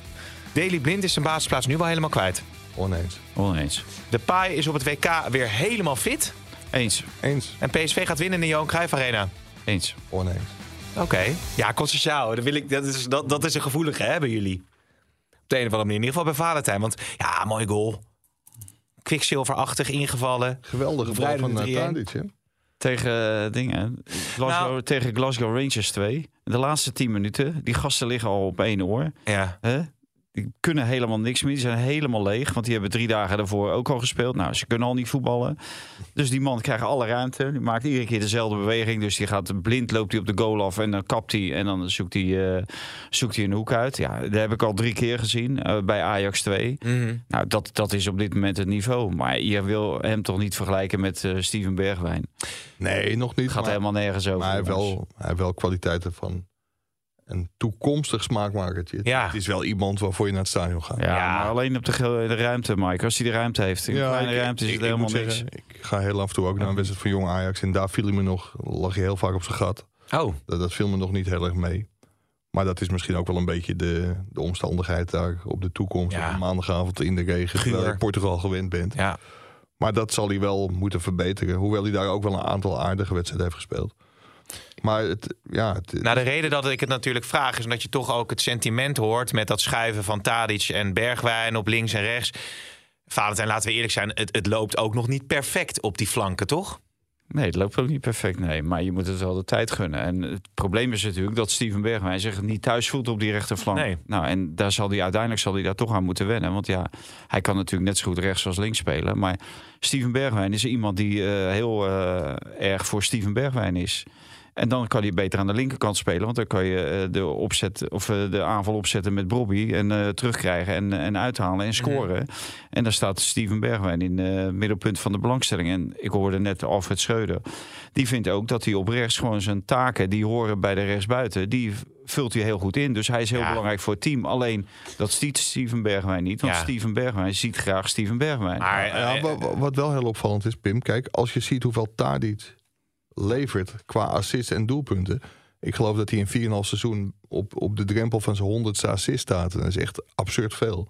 Speaker 3: Daily Blind is zijn basisplaats nu wel helemaal kwijt.
Speaker 5: Oneens.
Speaker 4: Oneens.
Speaker 3: De Pai is op het WK weer helemaal fit.
Speaker 4: Eens.
Speaker 5: Eens.
Speaker 3: En PSV gaat winnen in de Johan Cruijff Arena.
Speaker 4: Eens.
Speaker 5: Oneens.
Speaker 3: Oké. Ja, Concecao, dat, wil ik- dat, is, dat, dat is een gevoelige hè, bij jullie. Op de een of andere manier. In ieder geval bij Valentijn. Want ja, mooi goal. Kwikzilverachtig ingevallen.
Speaker 5: Geweldige bal
Speaker 3: Bevrijdende
Speaker 5: van uh,
Speaker 3: 3-1.
Speaker 5: Tadic, hè?
Speaker 4: tegen eh, dingen. Glasgow,
Speaker 3: Nou.
Speaker 4: Tegen Glasgow Rangers 2. De laatste 10 minuten. Die gasten liggen al op één oor.
Speaker 3: Ja.
Speaker 4: Hè? Die kunnen helemaal niks meer. Die zijn helemaal leeg. Want die hebben drie dagen daarvoor ook al gespeeld. Nou, ze kunnen al niet voetballen. Dus die man krijgt alle ruimte. Die maakt iedere keer dezelfde beweging. Dus die gaat blind, loopt hij op de goal af. En dan kapt hij. En dan zoekt hij, eh, zoekt hij een hoek uit. Ja, dat heb ik al drie keer gezien. eh, bij Ajax 2.
Speaker 3: Mhm.
Speaker 4: Nou, dat, dat is op dit moment het niveau. Maar je wil hem toch niet vergelijken met eh, Steven Bergwijn.
Speaker 5: Nee, nog niet.
Speaker 4: Het gaat
Speaker 5: maar-
Speaker 4: helemaal nergens over.
Speaker 5: Maar hij heeft,
Speaker 4: jongens.
Speaker 5: wel, hij heeft wel kwaliteiten van een toekomstig smaakmakertje. Het-
Speaker 3: Ja.
Speaker 5: Het is wel iemand waarvoor je naar het stadion gaat.
Speaker 4: Ja,
Speaker 3: Ja.
Speaker 4: maar alleen op de, ge- de ruimte, Mike. Als hij de ruimte heeft. In de kleine ruimte is het helemaal
Speaker 5: moet
Speaker 4: niks.
Speaker 5: zeggen, ik ga heel af en toe ook naar een wedstrijd van Jong Ajax. En daar viel hij me nog, lag je heel vaak op zijn gat.
Speaker 3: Oh,
Speaker 5: Dat, dat viel me nog niet heel erg mee. Maar dat is misschien ook wel een beetje de, de omstandigheid daar op de toekomst.
Speaker 3: Ja.
Speaker 5: Op een maandagavond in de regen, terwijl je
Speaker 3: Guur.
Speaker 5: Portugal gewend bent.
Speaker 3: ja.
Speaker 5: Maar dat zal hij wel moeten verbeteren. Hoewel hij daar ook wel een aantal aardige wedstrijden heeft gespeeld. Maar het, ja, het,
Speaker 3: Nou, de reden dat ik het natuurlijk vraag is omdat je toch ook het sentiment hoort met dat schuiven van Tadic en Bergwijn op links en rechts. Valentijn, laten we eerlijk zijn, het, het loopt ook nog niet perfect op die flanken, toch?
Speaker 4: Nee, het loopt ook niet perfect. Nee, maar je moet het wel de tijd gunnen. En het probleem is natuurlijk dat Steven Bergwijn zich niet thuis voelt op die rechterflank.
Speaker 3: Nee.
Speaker 4: Nou, en daar zal hij uiteindelijk zal hij daar toch aan moeten wennen. Want ja, hij kan natuurlijk net zo goed rechts als links spelen. Maar Steven Bergwijn is iemand die eh, heel eh, erg voor Steven Bergwijn is. En dan kan hij beter aan de linkerkant spelen. Want dan kan je eh, de, opzet, of, eh, de aanval opzetten met Bobby. En eh, terugkrijgen en, en uithalen en scoren. En daar staat Steven Bergwijn in eh, het middelpunt van de belangstelling. En ik hoorde net Alfred Schreuder. Die vindt ook dat hij op rechts gewoon zijn taken die horen bij de rechtsbuiten. Die vult hij heel goed in. Dus hij is heel
Speaker 3: Ja.
Speaker 4: belangrijk voor het team. Alleen dat ziet Steven Bergwijn niet. Want
Speaker 3: Ja.
Speaker 4: Steven Bergwijn ziet graag Steven Bergwijn.
Speaker 3: Maar
Speaker 5: Ja,
Speaker 3: eh,
Speaker 5: wa- wa- wat wel heel opvallend is, Pim. Kijk, als je ziet hoeveel Tadic levert qua assists en doelpunten. Ik geloof dat hij in 4,5 seizoen op, op de drempel van zijn 100ste assist staat. En dat is echt absurd veel.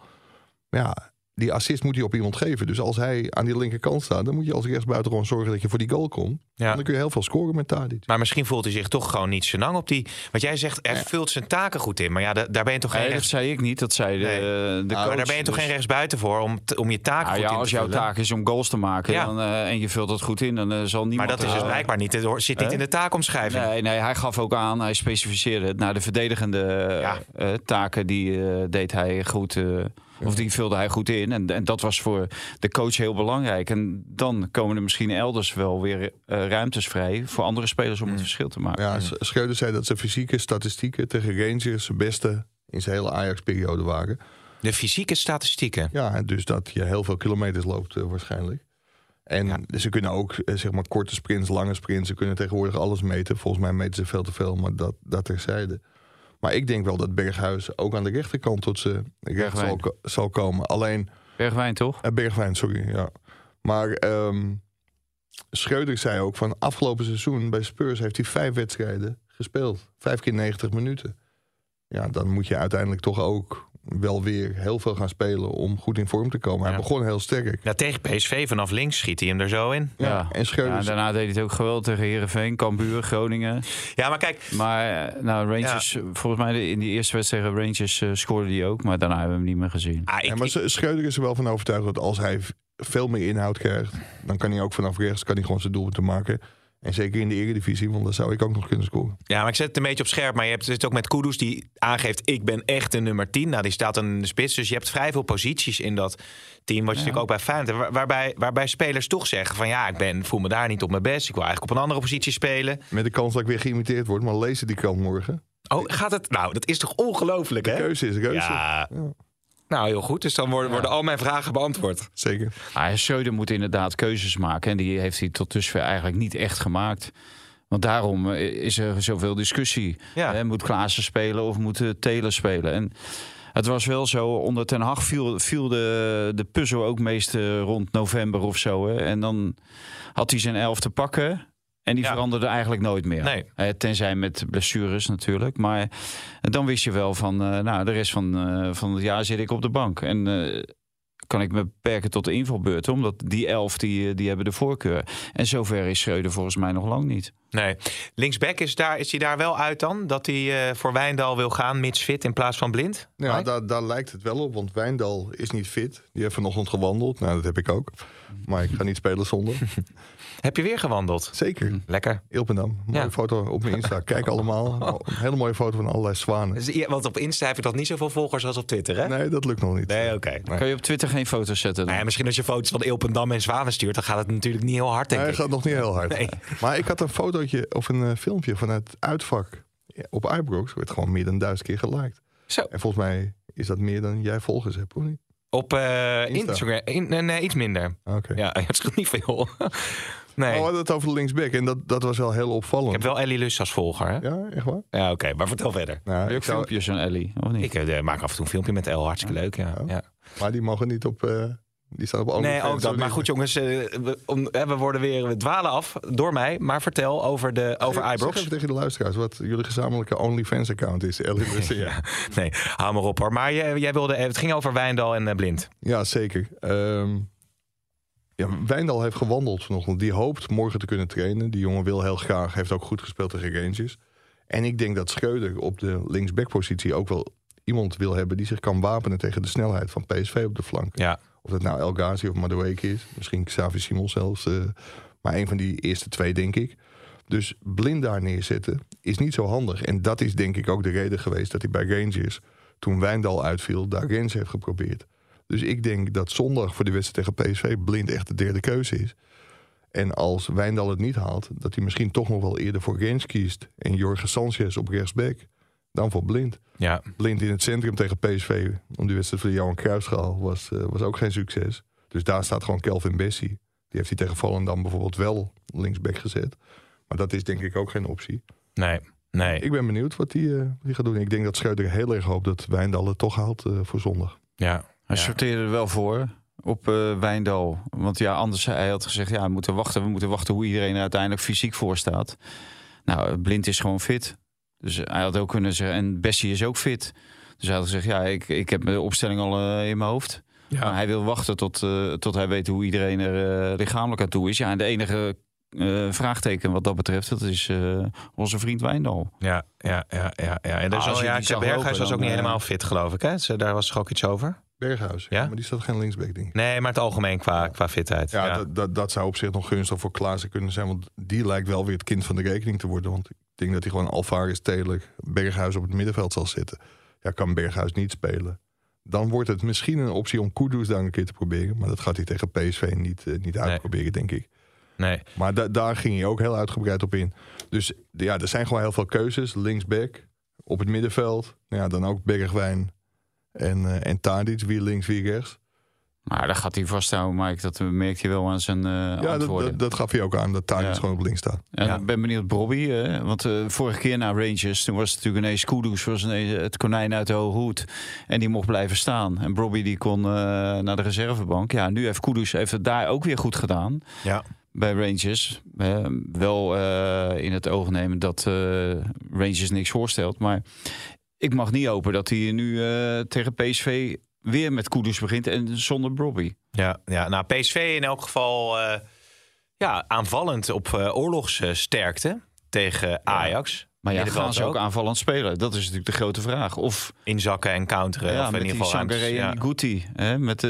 Speaker 5: Maar ja, die assist moet hij op iemand geven. Dus als hij aan die linkerkant staat, dan moet je als rechtsbuiten gewoon zorgen dat je voor die goal komt.
Speaker 3: ja.
Speaker 5: En dan kun je heel veel scoren met Tadic.
Speaker 3: Maar misschien voelt hij zich toch gewoon niet zo lang op die. Want jij zegt, hij vult zijn taken goed in. Maar ja, da- daar ben je toch geen,
Speaker 4: Nee, dat
Speaker 3: rechts,
Speaker 4: zei ik niet. Dat zei de,
Speaker 3: Nee. Nou, maar
Speaker 4: de coach.
Speaker 3: Ah, daar ben je toch
Speaker 4: Dus-
Speaker 3: geen rechtsbuiten voor om, t- om je taken
Speaker 4: Nou
Speaker 3: goed
Speaker 4: ja,
Speaker 3: in te
Speaker 4: als jouw
Speaker 3: vullen?
Speaker 4: taak is om goals te maken
Speaker 3: Ja.
Speaker 4: dan, eh, en je vult dat goed in, dan eh, zal niemand...
Speaker 3: Maar dat is dus
Speaker 4: eh,
Speaker 3: blijkbaar niet. Het hoort- zit niet
Speaker 4: Hè?
Speaker 3: in de taakomschrijving.
Speaker 4: Nee, nee, hij gaf ook aan, hij specificeerde het naar de verdedigende eh,
Speaker 3: Ja.
Speaker 4: eh, taken. Die eh, deed hij goed, eh, of die vulde hij goed in. En, en dat was voor de coach heel belangrijk. En dan komen er misschien elders wel weer eh, ruimtes vrij voor andere spelers om
Speaker 3: Mm.
Speaker 4: het verschil te maken.
Speaker 5: Ja, S- Schreuder zei dat zijn fysieke statistieken tegen Rangers zijn beste in zijn hele Ajax-periode waren.
Speaker 3: De fysieke statistieken.
Speaker 5: Ja, en dus dat je heel veel kilometers loopt eh, waarschijnlijk. En ze kunnen ook eh, zeg maar korte sprints, lange sprints. Ze kunnen tegenwoordig alles meten. Volgens mij meten ze veel te veel, maar dat, dat terzijde. Maar ik denk wel dat Berghuis ook aan de rechterkant tot zijn recht zal,
Speaker 4: Bergwijn.
Speaker 5: ko- zal komen. Alleen
Speaker 4: Bergwijn toch?
Speaker 5: eh, Bergwijn, sorry. Ja. Maar ehm Schreuder zei ook van afgelopen seizoen bij Spurs heeft hij vijf wedstrijden gespeeld. Vijf keer 90 minuten. Ja, dan moet je uiteindelijk toch ook wel weer heel veel gaan spelen om goed in vorm te komen. Hij
Speaker 3: Ja.
Speaker 5: begon heel sterk.
Speaker 3: Nou, tegen PSV vanaf links schiet hij hem er zo in.
Speaker 5: Ja.
Speaker 4: Ja.
Speaker 5: En
Speaker 4: Ja,
Speaker 5: Schreuder
Speaker 4: en daarna deed hij het ook geweldig tegen Heerenveen, Cambuur, Groningen.
Speaker 3: Ja, maar kijk,
Speaker 4: Maar eh, nou, Rangers, eh, volgens mij de- in die eerste wedstrijd tegen Rangers eh, scoorde hij ook. Maar daarna hebben we hem niet meer gezien.
Speaker 3: ah, ik,
Speaker 5: Ja, maar
Speaker 3: ik-
Speaker 5: Schreuder is er wel van overtuigd dat als hij v- veel meer inhoud krijgt, dan kan hij ook vanaf rechts kan hij gewoon zijn doelpunten maken. En zeker in de eredivisie, want daar zou ik ook nog kunnen scoren.
Speaker 3: ja, maar ik zet het een beetje op scherp. Maar je hebt het ook met Kudus die aangeeft: ik ben echt een nummer 10. Nou, die staat dan in de spits. Dus je hebt vrij veel posities in dat team. Wat je natuurlijk ook bij Feyenoord hebt. waar- waarbij, waarbij spelers toch zeggen: van ja, ik ben, voel me daar niet op mijn best. Ik wil eigenlijk op een andere positie spelen.
Speaker 5: Met de kans dat ik weer geïmiteerd word, maar lezen die krant morgen.
Speaker 3: Oh, gaat het? Nou, dat is toch ongelooflijk, hè?
Speaker 5: Keuze is keuze.
Speaker 3: Ja. Nou, heel goed. Dus dan worden, worden al mijn vragen beantwoord.
Speaker 5: Zeker.
Speaker 4: Ah, Schreuder moet inderdaad keuzes maken. En die heeft hij tot dusver eigenlijk niet echt gemaakt. Want daarom eh, is er zoveel discussie.
Speaker 3: Ja.
Speaker 4: Hè, moet Klaassen spelen of moet eh, Taylor spelen? En het was wel zo, onder Ten Hag viel, viel de, de puzzel ook meest eh, rond november of zo. Hè? En dan had hij zijn elf te pakken. En die
Speaker 3: Ja.
Speaker 4: veranderde eigenlijk nooit meer.
Speaker 3: Nee.
Speaker 4: Eh, tenzij met blessures natuurlijk. Maar dan wist je wel van, eh, nou, de rest van, eh, van het jaar zit ik op de bank. En eh, kan ik me beperken tot de invalbeurten. Omdat die elf, die, eh, die hebben de voorkeur. En zover is Schreuder volgens mij nog lang niet.
Speaker 3: Nee. Linksback is, daar, is hij daar wel uit dan? Dat hij eh, voor Wijndal wil gaan, mits fit in plaats van blind?
Speaker 5: Nou Ja, daar, daar lijkt het wel op, want Wijndal is niet fit. Die heeft vanochtend gewandeld. Nou, dat heb ik ook. Maar ik ga niet spelen zonder.
Speaker 3: Heb je weer gewandeld?
Speaker 5: Zeker.
Speaker 3: Lekker.
Speaker 5: Ilpendam. Mooie
Speaker 3: Ja.
Speaker 5: foto op mijn Insta. Kijk allemaal. Oh, Een hele mooie foto van allerlei zwanen.
Speaker 3: Dus, ja, want op Insta heb je nog niet zoveel volgers als op Twitter, hè?
Speaker 5: Nee, dat lukt nog niet.
Speaker 3: Nee, oké. Nee.
Speaker 4: Kan je op Twitter geen foto's zetten? Dan?
Speaker 3: Nou ja, misschien als je foto's van Ilpendam en Zwanen stuurt, dan gaat het natuurlijk niet heel hard, denk
Speaker 5: Hij
Speaker 3: ik.
Speaker 5: gaat nog niet heel hard.
Speaker 3: Nee.
Speaker 5: Maar ik had een fotootje of een eh, filmpje van het uitvak Ja, op iBrox. Werd gewoon meer dan duizend keer geliked.
Speaker 3: Zo.
Speaker 5: En volgens mij is dat meer dan jij volgers hebt, of niet?
Speaker 3: Op eh,
Speaker 5: Insta.
Speaker 3: Instagram. In, nee, nee, iets minder.
Speaker 5: Oké.
Speaker 3: Ja, het scheelt niet veel. Nee.
Speaker 5: Oh, we hadden het over de linksback en dat, dat was wel heel
Speaker 3: Ik
Speaker 5: opvallend.
Speaker 3: heb wel Ellie Lust als volger, hè? Ja,
Speaker 5: Ja, echt waar?
Speaker 3: oké. Maar vertel verder.
Speaker 5: Nou,
Speaker 4: Heb je
Speaker 5: ik
Speaker 4: ook
Speaker 5: zou-
Speaker 4: filmpjes van Ellie, of
Speaker 3: Ik
Speaker 4: niet?
Speaker 3: eh, maak af en toe een filmpje met El. Hartstikke leuk, ja.
Speaker 5: Oh.
Speaker 3: ja.
Speaker 5: Maar die mogen niet op... eh, die staan op
Speaker 3: Nee,
Speaker 5: OnlyFans,
Speaker 3: ook dat.
Speaker 5: sorry.
Speaker 3: Maar goed, jongens, eh, we, om- eh, we worden weer we dwalen af door mij. Maar vertel over, de, over
Speaker 5: Eh, Zeg- Zeg
Speaker 3: iBrox.
Speaker 5: even tegen de luisteraars wat jullie gezamenlijke OnlyFans-account is. Ellie Lussen, ja.
Speaker 3: Nee, hou maar op hoor. Maar jij, jij wilde, het ging over Wijndal en eh, Blind.
Speaker 5: Ja, zeker. Ehm, ja, Wijndal heeft gewandeld vanochtend. Die hoopt morgen te kunnen trainen. Die jongen wil heel graag. Heeft ook goed gespeeld tegen Rangers. En ik denk dat Schreuder op de linksbackpositie ook wel iemand wil hebben... die zich kan wapenen tegen de snelheid van PSV op de flank.
Speaker 3: Ja.
Speaker 5: Of dat nou El Ghazi of Madueke is. Misschien Xavi Simons zelfs. eh, maar een van die eerste twee, denk ik. Dus blind daar neerzetten is niet zo handig. En dat is denk ik ook de reden geweest dat hij bij Rangers... toen Wijndal uitviel, daar Rens heeft geprobeerd. Dus ik denk dat zondag voor de wedstrijd tegen PSV... blind echt de derde keuze is. En als Wijndal het niet haalt... dat hij misschien toch nog wel eerder voor Rens kiest... en Jorge Sanchez op rechtsback... dan voor blind.
Speaker 3: Ja.
Speaker 5: Blind in het centrum tegen PSV om die wedstrijd van de Johan Cruijffschaal was, eh, was ook geen succes. Dus daar staat gewoon Kelvin Bessie. Die heeft hij tegen Volendam bijvoorbeeld wel linksback gezet. Maar dat is denk ik ook geen optie.
Speaker 3: Nee. Nee.
Speaker 5: Ik ben benieuwd wat hij eh, wat hij gaat doen. Ik denk dat Schreuder heel erg hoopt dat Wijndal het toch haalt eh, voor zondag.
Speaker 3: Ja.
Speaker 4: Hij
Speaker 3: Ja.
Speaker 4: sorteerde er wel voor op eh, Wijndal. Want ja, anders hij had gezegd, ja, we moeten wachten. We moeten wachten hoe iedereen er uiteindelijk fysiek voor staat. Nou, Blind is gewoon fit. Dus hij had ook kunnen zeggen, en Bessie is ook fit. Dus hij had gezegd, ja, ik, ik heb de opstelling al eh, in mijn hoofd. Maar hij wil wachten tot, eh, tot hij weet hoe iedereen er eh, lichamelijk aan toe is. Ja, en de enige eh, vraagteken wat dat betreft, dat is eh, onze vriend Wijndal.
Speaker 3: Ja, ja, ja, ja. ja. En
Speaker 4: Ah,
Speaker 3: dus
Speaker 4: als
Speaker 3: al,
Speaker 4: je
Speaker 3: ja,
Speaker 4: die zag
Speaker 3: Berghuis
Speaker 4: lopen,
Speaker 3: was ook
Speaker 4: dan,
Speaker 3: niet
Speaker 4: eh,
Speaker 3: helemaal fit, geloof ik. Hè? Ze- Daar was toch ook iets over?
Speaker 5: Berghuis,
Speaker 3: Ja?
Speaker 5: maar die staat geen linksback denk ik.
Speaker 3: Nee, maar het algemeen qua, qua fitheid.
Speaker 5: Ja,
Speaker 3: Ja,
Speaker 5: Dat, dat, dat zou op zich nog gunstig voor Klaassen kunnen zijn. Want die lijkt wel weer het kind van de rekening te worden. Want ik denk dat hij gewoon Alvarez stedelijk Berghuis op het middenveld zal zitten. Ja, kan Berghuis niet spelen. Dan wordt het misschien een optie om Kudus daar een keer te proberen. Maar dat gaat hij tegen PSV niet, eh, niet uitproberen, denk ik.
Speaker 3: Nee.
Speaker 5: Maar da- daar ging hij ook heel uitgebreid op in. Dus ja, er zijn gewoon heel veel keuzes. Linksback, op het middenveld. Nou Ja, dan ook Bergwijn en, eh, en Tadic. Wie links, wie rechts.
Speaker 4: Maar daar gaat hij vasthouden, Mike. Dat merkt hij wel aan zijn eh,
Speaker 5: Ja, dat,
Speaker 4: antwoorden.
Speaker 5: dat, dat gaf hij ook aan. Dat Tadic
Speaker 4: Ja.
Speaker 5: gewoon op links staat.
Speaker 4: En
Speaker 3: Ja.
Speaker 4: ik ben benieuwd, Bobby. eh, want eh, vorige keer na Rangers, toen was het natuurlijk ineens Kudus, was ineens het konijn uit de hoge hoed. En die mocht blijven staan. En Bobby die kon eh, naar de reservebank. Ja, nu heeft Kudus heeft het daar ook weer goed gedaan
Speaker 3: ja.
Speaker 4: bij Rangers. eh, wel eh, in het oog nemen dat eh, Rangers niks voorstelt. Maar ik mag niet hopen dat hij nu eh, tegen PSV weer met Kudus begint en zonder Bobby.
Speaker 3: Ja, ja, nou PSV in elk geval eh, ja, aanvallend op eh, oorlogssterkte tegen Ajax.
Speaker 4: Maar ja,
Speaker 3: Middenveld
Speaker 4: gaan ze ook aanvallend spelen? Dat is natuurlijk de grote vraag. Of
Speaker 3: Inzakken en counteren.
Speaker 4: Ja,
Speaker 3: of
Speaker 4: met
Speaker 3: in ieder
Speaker 4: die
Speaker 3: geval ruimtes.
Speaker 4: Sangaré en
Speaker 3: ja.
Speaker 4: die Guti. Hè, met de,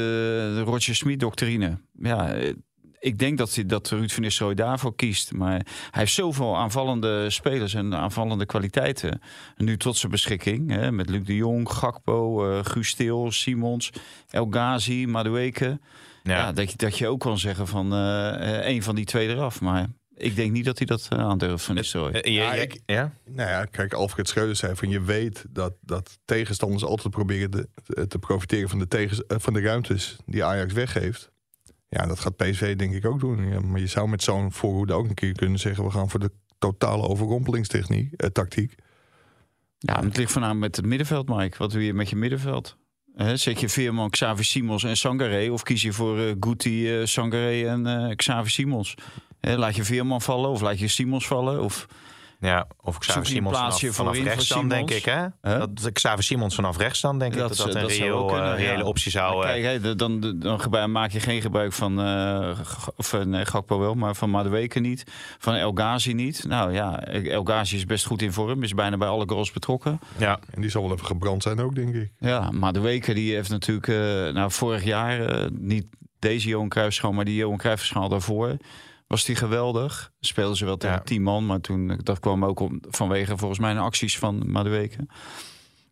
Speaker 4: de Roger Smit-doctrine. Ja, eh, ik denk dat, hij- dat Ruud van Nistelrooy daarvoor kiest. Maar hij heeft zoveel aanvallende spelers en aanvallende kwaliteiten. Nu tot zijn beschikking. Hè, met Luc de Jong, Gakpo, eh Guus Til, Simons, El Ghazi, Madueke. Ja.
Speaker 3: Ja.
Speaker 4: dat, je, dat je ook kan zeggen van eh, een van die twee eraf. Maar ik denk niet dat hij dat eh, aandurft van Nistelrooy.
Speaker 3: Eh, je-
Speaker 5: Ja,
Speaker 3: je-
Speaker 5: ik-
Speaker 3: ja?
Speaker 5: Nou ja, kijk, Alfred Schreuder zei van je weet dat, dat tegenstanders altijd proberen de- eh, te, te profiteren van de, tegens, eh, van de ruimtes die Ajax weggeeft. Ja, dat gaat PSV denk ik ook doen. Ja, maar je zou met zo'n voorhoede ook een keer kunnen zeggen... we gaan voor de totale overrompelingstechniek, eh, tactiek.
Speaker 4: Ja, maar het ligt voornamelijk met het middenveld, Mike. Wat doe je met je middenveld? Hè, zet je Veerman, Xavi Simons en Sangaré? Of kies je voor eh Guti, eh Sangaré en eh Xavi Simons? Hè, laat je Veerman vallen of laat je Simons vallen? Of,
Speaker 3: ja, of Xavier
Speaker 4: Zoek je een
Speaker 3: Simons vanaf,
Speaker 4: plaatsje
Speaker 3: vanaf
Speaker 4: voorin voor
Speaker 3: rechts dan, denk ik.
Speaker 4: Simons?
Speaker 3: Hè?
Speaker 4: Hè?
Speaker 3: Dat Xavier Simons vanaf rechts dan, denk ik. Dat dat, een
Speaker 4: zou
Speaker 3: reëel,
Speaker 4: ook kunnen,
Speaker 3: eh, reële
Speaker 4: ja.
Speaker 3: optie
Speaker 4: Maar
Speaker 3: zou... eh,
Speaker 4: Kijk, hè, dan, dan, dan gebruik- maak je geen gebruik van... eh, G- of, eh, nee, Gakpo wel, maar van Madueke niet. Van El Ghazi niet. Nou ja, El Ghazi is best goed in vorm. Is bijna bij alle goals betrokken.
Speaker 3: ja.
Speaker 5: En die zal wel even gebrand zijn ook, denk ik.
Speaker 4: Ja, maar de Weken die heeft natuurlijk eh, nou, vorig jaar, eh, niet deze Johan Cruijffschaal, maar die Johan Cruijffschaal daarvoor, was die geweldig. Speelden ze wel tegen
Speaker 3: Ja.
Speaker 4: tien man, maar toen, eh, dat kwam ook om, vanwege volgens mij de acties van Madueke.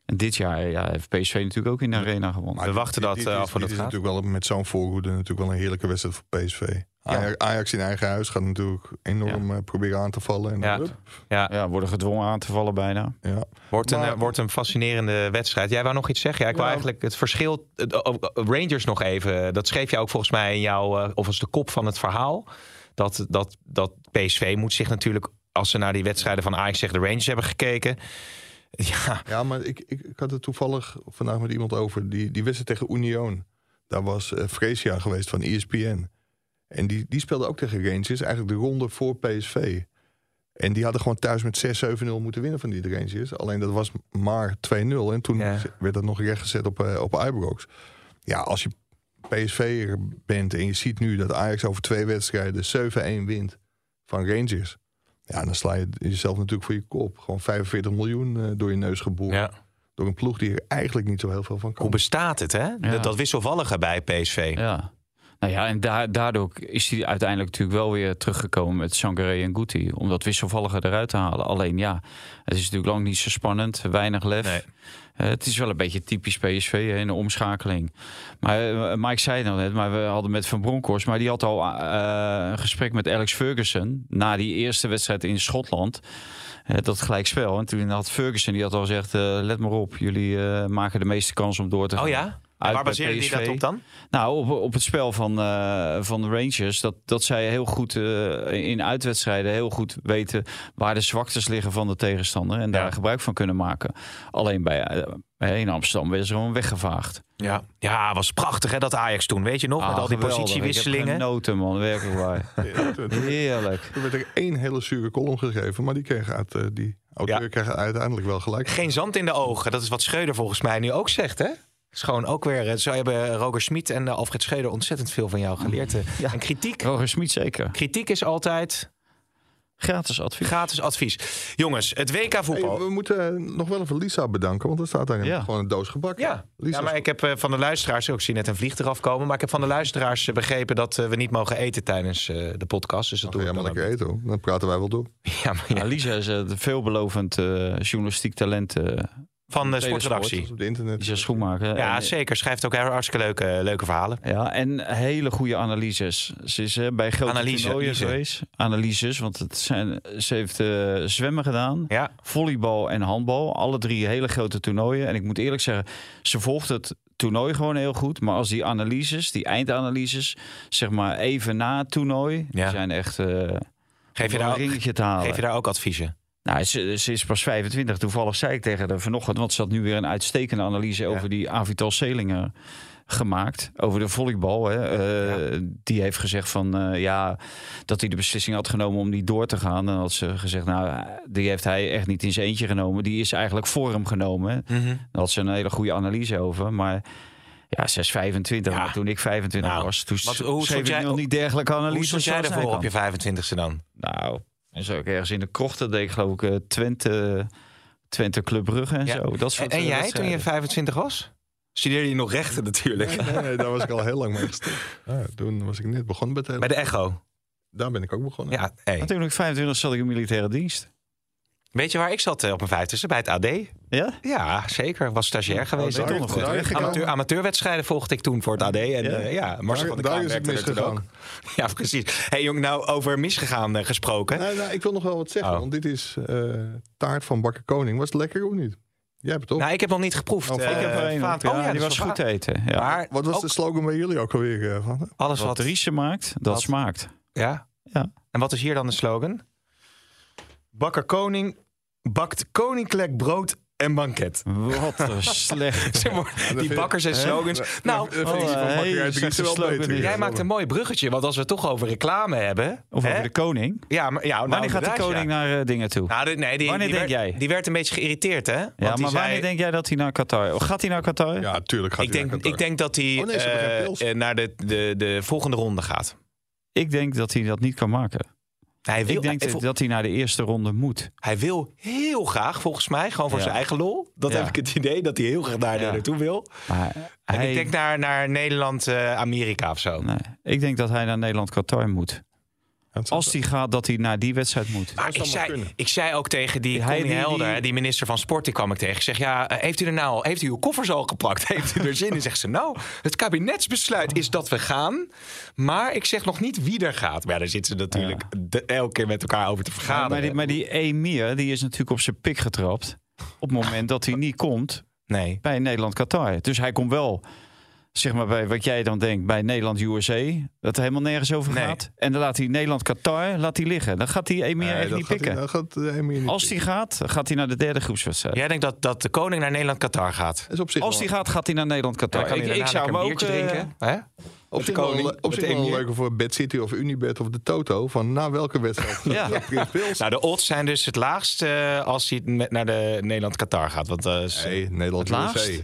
Speaker 4: En dit jaar ja, heeft PSV natuurlijk ook in de arena gewonnen.
Speaker 3: We wachten dat
Speaker 5: dit,
Speaker 3: eh,
Speaker 5: is-
Speaker 3: af
Speaker 5: dit
Speaker 3: wat het
Speaker 5: is
Speaker 3: gaat.
Speaker 5: natuurlijk wel met zo'n voorhoede natuurlijk wel een heerlijke wedstrijd voor PSV. Ajax, Ajax in eigen huis gaat natuurlijk enorm eh, proberen aan te vallen. En
Speaker 3: Ja.
Speaker 5: dan, hup,
Speaker 3: Ja,
Speaker 4: Ja, worden gedwongen aan te vallen bijna.
Speaker 5: ja.
Speaker 3: wordt, een,
Speaker 5: Maar-
Speaker 3: eh, wordt een fascinerende wedstrijd. Jij wou nog iets zeggen? Ja, ik wil
Speaker 5: Ja.
Speaker 4: Nou.
Speaker 3: eigenlijk het verschil... eh, oh, oh, Rangers nog even. Dat schreef jij ook volgens mij in jouw... eh, of als de kop van het verhaal. Dat, dat, dat PSV moet zich natuurlijk... Als ze naar die wedstrijden van Ajax tegen de Rangers hebben gekeken... Ja,
Speaker 5: Ja, maar ik, ik, ik had het toevallig vandaag met iemand over. Die, die wedstrijd tegen Union. Daar was eh Fresia geweest van ESPN. En die, die speelde ook tegen Rangers. Eigenlijk de ronde voor PSV. En die hadden gewoon thuis met 6-7-0 moeten winnen van die Rangers. Alleen dat was maar 2-0. En toen
Speaker 3: Ja.
Speaker 5: werd dat nog rechtgezet op, eh, op Ibrox. Ja, als je PSV bent en je ziet nu dat Ajax over twee wedstrijden 7-1 wint van Rangers. Ja, dan sla je jezelf natuurlijk voor je kop. Gewoon 45 miljoen eh, door je neus geboord
Speaker 3: ja.
Speaker 5: door een ploeg die er eigenlijk niet zo heel veel van
Speaker 3: Hoe
Speaker 5: kan.
Speaker 3: bestaat het, hè? Dat, dat wisselvallige bij PSV.
Speaker 4: Ja. Nou ja, en da- daardoor is hij uiteindelijk natuurlijk wel weer teruggekomen met Sangaré en Guti. Om dat wisselvallige eruit te halen. Alleen ja, het is natuurlijk lang niet zo spannend. Weinig lef.
Speaker 3: Nee.
Speaker 4: Eh, het is wel een beetje typisch PSV hè, in de omschakeling. Maar eh, Mike zei het al net, maar we hadden met Van Bronckhorst. Maar die had al eh, een gesprek met Alex Ferguson. Na die eerste wedstrijd in Schotland. eh, dat gelijkspel. En toen had Ferguson die had al gezegd: eh, let maar op, jullie eh, maken de meeste kans om door te gaan.
Speaker 3: Oh ja?
Speaker 4: Uit
Speaker 3: Waar
Speaker 4: bij
Speaker 3: baseerde die
Speaker 4: PSV.
Speaker 3: dat op dan?
Speaker 4: Nou, op, op het spel van, eh, van de Rangers. Dat, dat zij heel goed eh, in uitwedstrijden heel goed weten waar de zwaktes liggen van de tegenstander. En daar
Speaker 3: Ja.
Speaker 4: gebruik van kunnen maken. Alleen bij, eh, bij in Amsterdam werd ze gewoon weggevaagd.
Speaker 3: Ja. Ja, was prachtig hè, dat Ajax toen. Weet je nog?
Speaker 4: Ah,
Speaker 3: met al die
Speaker 4: geweldig. Ik heb
Speaker 3: positiewisselingen.
Speaker 4: genoten, man. Werkelijk waar.
Speaker 5: Ja, toen- toen-
Speaker 4: Heerlijk.
Speaker 5: Toen werd er één hele zure column gegeven, maar die kreeg uit, eh, die auteur
Speaker 3: Ja.
Speaker 5: kreeg uiteindelijk wel gelijk.
Speaker 3: Geen zand in de ogen. Dat is wat Schreuder volgens mij nu ook zegt, hè? Is gewoon ook weer. eh, Zo hebben Roger Smit en eh, Alfred Schreuder ontzettend veel van jou geleerd. eh. En kritiek.
Speaker 4: Roger Smit zeker.
Speaker 3: Kritiek is altijd
Speaker 4: Gratis advies.
Speaker 3: gratis advies. Jongens, het WK
Speaker 5: Hey,
Speaker 3: voetbal.
Speaker 5: we moeten eh, nog wel even Lisa bedanken, want er staat daar een-
Speaker 4: Ja.
Speaker 5: gewoon een doos gebak.
Speaker 3: Ja.
Speaker 5: Lisa
Speaker 3: ja, maar ik heb eh, van de luisteraars, ook ik zie net een vlieg eraf komen, maar ik heb van de luisteraars eh, begrepen dat eh, we niet mogen eten tijdens eh, de podcast. Dus dat
Speaker 5: Ga
Speaker 3: doen
Speaker 5: jij
Speaker 3: we
Speaker 5: maar
Speaker 3: dan
Speaker 5: lekker
Speaker 3: ook.
Speaker 5: eten hoor. Dan praten wij wel door.
Speaker 3: Ja, maar ja.
Speaker 4: Ja, Nou, Lisa is een veelbelovend eh, journalistiek talent. eh
Speaker 3: Van de
Speaker 4: Telesport.
Speaker 3: sportredactie.
Speaker 5: Op het internet.
Speaker 4: Lisa Schoenmaker.
Speaker 3: Ja,
Speaker 4: En- eh,
Speaker 3: zeker. Schrijft ook hartstikke leuke, eh, leuke verhalen.
Speaker 4: Ja, en hele goede analyses. Ze is hè, bij grote
Speaker 3: Analyse,
Speaker 4: toernooien
Speaker 3: Lise.
Speaker 4: geweest. Analyses, want het zijn, ze heeft eh, zwemmen gedaan,
Speaker 3: Ja,
Speaker 4: volleybal en handbal. Alle drie hele grote toernooien. En ik moet eerlijk zeggen, ze volgt het toernooi gewoon heel goed. Maar als die analyses, die eindanalyses, zeg maar even na het toernooi,
Speaker 3: Ja.
Speaker 4: die zijn echt... eh,
Speaker 3: geef je,
Speaker 4: om
Speaker 3: daar
Speaker 4: een
Speaker 3: ook,
Speaker 4: ringetje te halen.
Speaker 3: geef je daar ook adviezen?
Speaker 4: Nou, ze, ze is pas 25. Toevallig zei ik tegen haar vanochtend, want ze had nu weer een uitstekende analyse over die Avital Selingen gemaakt. Over de volleybal. Hè. Eh, Die heeft gezegd van eh, ja, dat hij de beslissing had genomen om niet door te gaan. En had ze gezegd, nou, die heeft hij echt niet in zijn eentje genomen. Die is eigenlijk voor hem genomen.
Speaker 3: Mhm.
Speaker 4: Daar had ze een hele goede analyse over. Maar ja, ze is 25.
Speaker 3: Ja.
Speaker 4: Maar toen ik 25
Speaker 3: Nou,
Speaker 4: was, toen
Speaker 3: wat- hoe
Speaker 4: schreef
Speaker 3: stond
Speaker 4: ik
Speaker 3: jij-
Speaker 4: nog niet dergelijke analyse.
Speaker 3: Hoe stond jij
Speaker 4: zoals
Speaker 3: ervoor
Speaker 4: kan.
Speaker 3: op je 25e dan?
Speaker 4: Nou, en zo ook ergens in de krochten deed ik geloof ik eh, Twente, Twente Club Brugge en
Speaker 3: Ja.
Speaker 4: zo. Dat
Speaker 3: En,
Speaker 4: soort,
Speaker 3: en
Speaker 4: eh,
Speaker 3: jij toen
Speaker 4: wedstrijden.
Speaker 3: je 25 was? Studeerde je nog rechten natuurlijk.
Speaker 5: Nee, nee, daar was ik al heel lang mee gestopt. Ja, toen was ik net begonnen met het-
Speaker 3: Bij de Echo.
Speaker 5: Daar ben ik ook begonnen.
Speaker 3: Ja, hey.
Speaker 4: Maar Toen ik 25 zat ik in militaire dienst.
Speaker 3: Weet je waar ik zat eh, op mijn 50e? Bij het AD.
Speaker 4: Ja?
Speaker 3: Ja, zeker. Was stagiair geweest.
Speaker 5: daar-
Speaker 3: Ik
Speaker 4: toch nog goed
Speaker 5: daar-
Speaker 4: weggekomen.
Speaker 3: Amateur, amateurwedstrijden volgde ik toen voor het AD. En ja, ja Marcel van der
Speaker 5: Daar, daar
Speaker 3: Kraan
Speaker 5: is ik
Speaker 3: werkte er toen ook.
Speaker 5: misgegaan.
Speaker 3: Ja, precies. hey, jong, nou over misgegaan eh, gesproken.
Speaker 5: Nou, nou, ik wil nog wel wat zeggen,
Speaker 3: Oh.
Speaker 5: want dit is eh, taart van Bakker Koning. Was het lekker of niet? Jij hebt het op.
Speaker 3: Nou, ik heb nog niet geproefd.
Speaker 5: Oh,
Speaker 3: eh,
Speaker 4: ik heb er één.
Speaker 3: Vaat-
Speaker 4: op, ja,
Speaker 3: oh, ja,
Speaker 4: die
Speaker 3: dat
Speaker 4: was
Speaker 3: is
Speaker 4: goed
Speaker 3: wel
Speaker 4: te
Speaker 3: waar.
Speaker 4: eten. Ja.
Speaker 3: Maar
Speaker 5: Wat was
Speaker 3: ook
Speaker 5: de slogan bij jullie ook alweer? eh, van?
Speaker 3: alles
Speaker 4: wat
Speaker 3: wat...
Speaker 4: Riesje maakt, dat
Speaker 3: wat-
Speaker 4: smaakt.
Speaker 3: Ja.
Speaker 4: Ja.
Speaker 3: En wat is hier dan de slogan? Bakker Koning bakt koninklijk brood en banket.
Speaker 4: Wat een slecht.
Speaker 3: Ze worden-
Speaker 5: vind
Speaker 3: Die
Speaker 5: ik-
Speaker 3: bakkers en slogans. Nou,
Speaker 5: Eh,
Speaker 4: Oh,
Speaker 5: die van
Speaker 4: eh,
Speaker 5: Bakker
Speaker 4: hele
Speaker 5: uit Dries
Speaker 4: slechte
Speaker 5: wel
Speaker 4: slogan
Speaker 5: beter.
Speaker 4: dit.
Speaker 3: jij maakt een mooi bruggetje. Want als we het toch over reclame hebben...
Speaker 4: Of
Speaker 3: hè?
Speaker 4: over de koning.
Speaker 3: Ja, maar... Ja, nou,
Speaker 4: Wanneer gaat de
Speaker 3: inderdaad,
Speaker 4: koning
Speaker 3: ja.
Speaker 4: naar eh, dingen toe?
Speaker 3: Nou, dit- nee, die,
Speaker 4: Wanneer
Speaker 3: die
Speaker 4: denk
Speaker 3: werd,
Speaker 4: jij?
Speaker 3: Die werd een beetje geïrriteerd, hè? Want
Speaker 4: ja,
Speaker 3: die
Speaker 4: maar
Speaker 3: zei-
Speaker 4: wanneer denk jij dat hij naar Qatar? Of Gaat hij naar Qatar?
Speaker 5: Ja, tuurlijk gaat
Speaker 3: ik
Speaker 5: hij
Speaker 3: denk,
Speaker 5: naar Qatar.
Speaker 3: ik denk dat hij
Speaker 5: Oh, nee, ze hebben geen
Speaker 3: eh,
Speaker 5: pils.
Speaker 3: eh, naar de, de, de volgende ronde gaat.
Speaker 4: Ik denk dat hij dat niet kan maken.
Speaker 3: Hij wil,
Speaker 4: Ik denk
Speaker 3: hij,
Speaker 4: dat- dat hij naar de eerste ronde moet.
Speaker 3: hij wil heel graag, volgens mij, gewoon voor
Speaker 4: Ja.
Speaker 3: zijn eigen lol. Dat
Speaker 4: Ja.
Speaker 3: heb ik het idee, dat hij heel graag daar
Speaker 4: Ja.
Speaker 3: naartoe wil.
Speaker 4: Maar
Speaker 3: En
Speaker 4: hij- Nou,
Speaker 3: ik denk naar, naar Nederland, eh, Amerika of zo.
Speaker 4: Nee, ik denk dat hij naar Nederland-Qatar moet.
Speaker 5: Het
Speaker 4: Als die gaat, dat hij naar die wedstrijd moet.
Speaker 3: Maar ik
Speaker 5: zou maar
Speaker 3: zei,
Speaker 5: kunnen.
Speaker 3: ik zei ook tegen die
Speaker 4: Hij
Speaker 3: Connie
Speaker 4: die-
Speaker 3: Helder,
Speaker 4: die-
Speaker 3: hè, die minister van Sport, die kwam ik tegen. Ik zeg, ja, eh, heeft u er nou, al- heeft u uw koffers al gepakt? Heeft u er zin in? Zegt ze, nou, het kabinetsbesluit is dat we gaan. Maar ik zeg nog niet wie er gaat. Maar ja, daar zitten ze natuurlijk de- elke keer met elkaar over te vergaderen.
Speaker 4: maar, die, maar die Emir, die is natuurlijk op zijn pik getrapt. Op het moment dat hij niet komt
Speaker 3: Nee.
Speaker 4: bij Nederland-Qatar. Dus hij komt wel, zeg maar bij wat jij dan denkt, bij Nederland-USA. Dat er helemaal nergens over
Speaker 3: Nee.
Speaker 4: gaat. En dan laat hij Nederland-Qatar laat hij liggen. Dan gaat die Emir echt niet pikken.
Speaker 5: Dat gaat eh, Emir niet
Speaker 4: Als die gaat, gaat hij naar de derde groepswedstrijd.
Speaker 3: Jij denkt dat, dat de koning naar Nederland-Qatar gaat?
Speaker 5: pikken. Is op zich
Speaker 4: Als die
Speaker 5: wel-
Speaker 4: gaat, gaat hij naar Nederland-Qatar.
Speaker 3: Dan kan
Speaker 4: ik,
Speaker 3: hij
Speaker 4: ik
Speaker 3: daarna
Speaker 4: zou hem
Speaker 3: lekker een
Speaker 4: ook...
Speaker 3: biertje
Speaker 4: eh,
Speaker 3: drinken. Hè?
Speaker 5: Op
Speaker 3: Met
Speaker 5: zich
Speaker 3: de
Speaker 5: wel,
Speaker 3: koning,
Speaker 5: een- op
Speaker 3: met
Speaker 5: zich
Speaker 3: de
Speaker 5: wel een
Speaker 3: emir.
Speaker 5: leuke voor Bad City of Unibet of de Toto. Van na welke wedstrijd?
Speaker 4: Ja.
Speaker 3: Nou, de odds zijn dus het laagst eh, als hij met- naar de Nederland-Qatar gaat. Want eh, is-
Speaker 5: Nee, Nederland
Speaker 4: Het laagst?
Speaker 5: USA.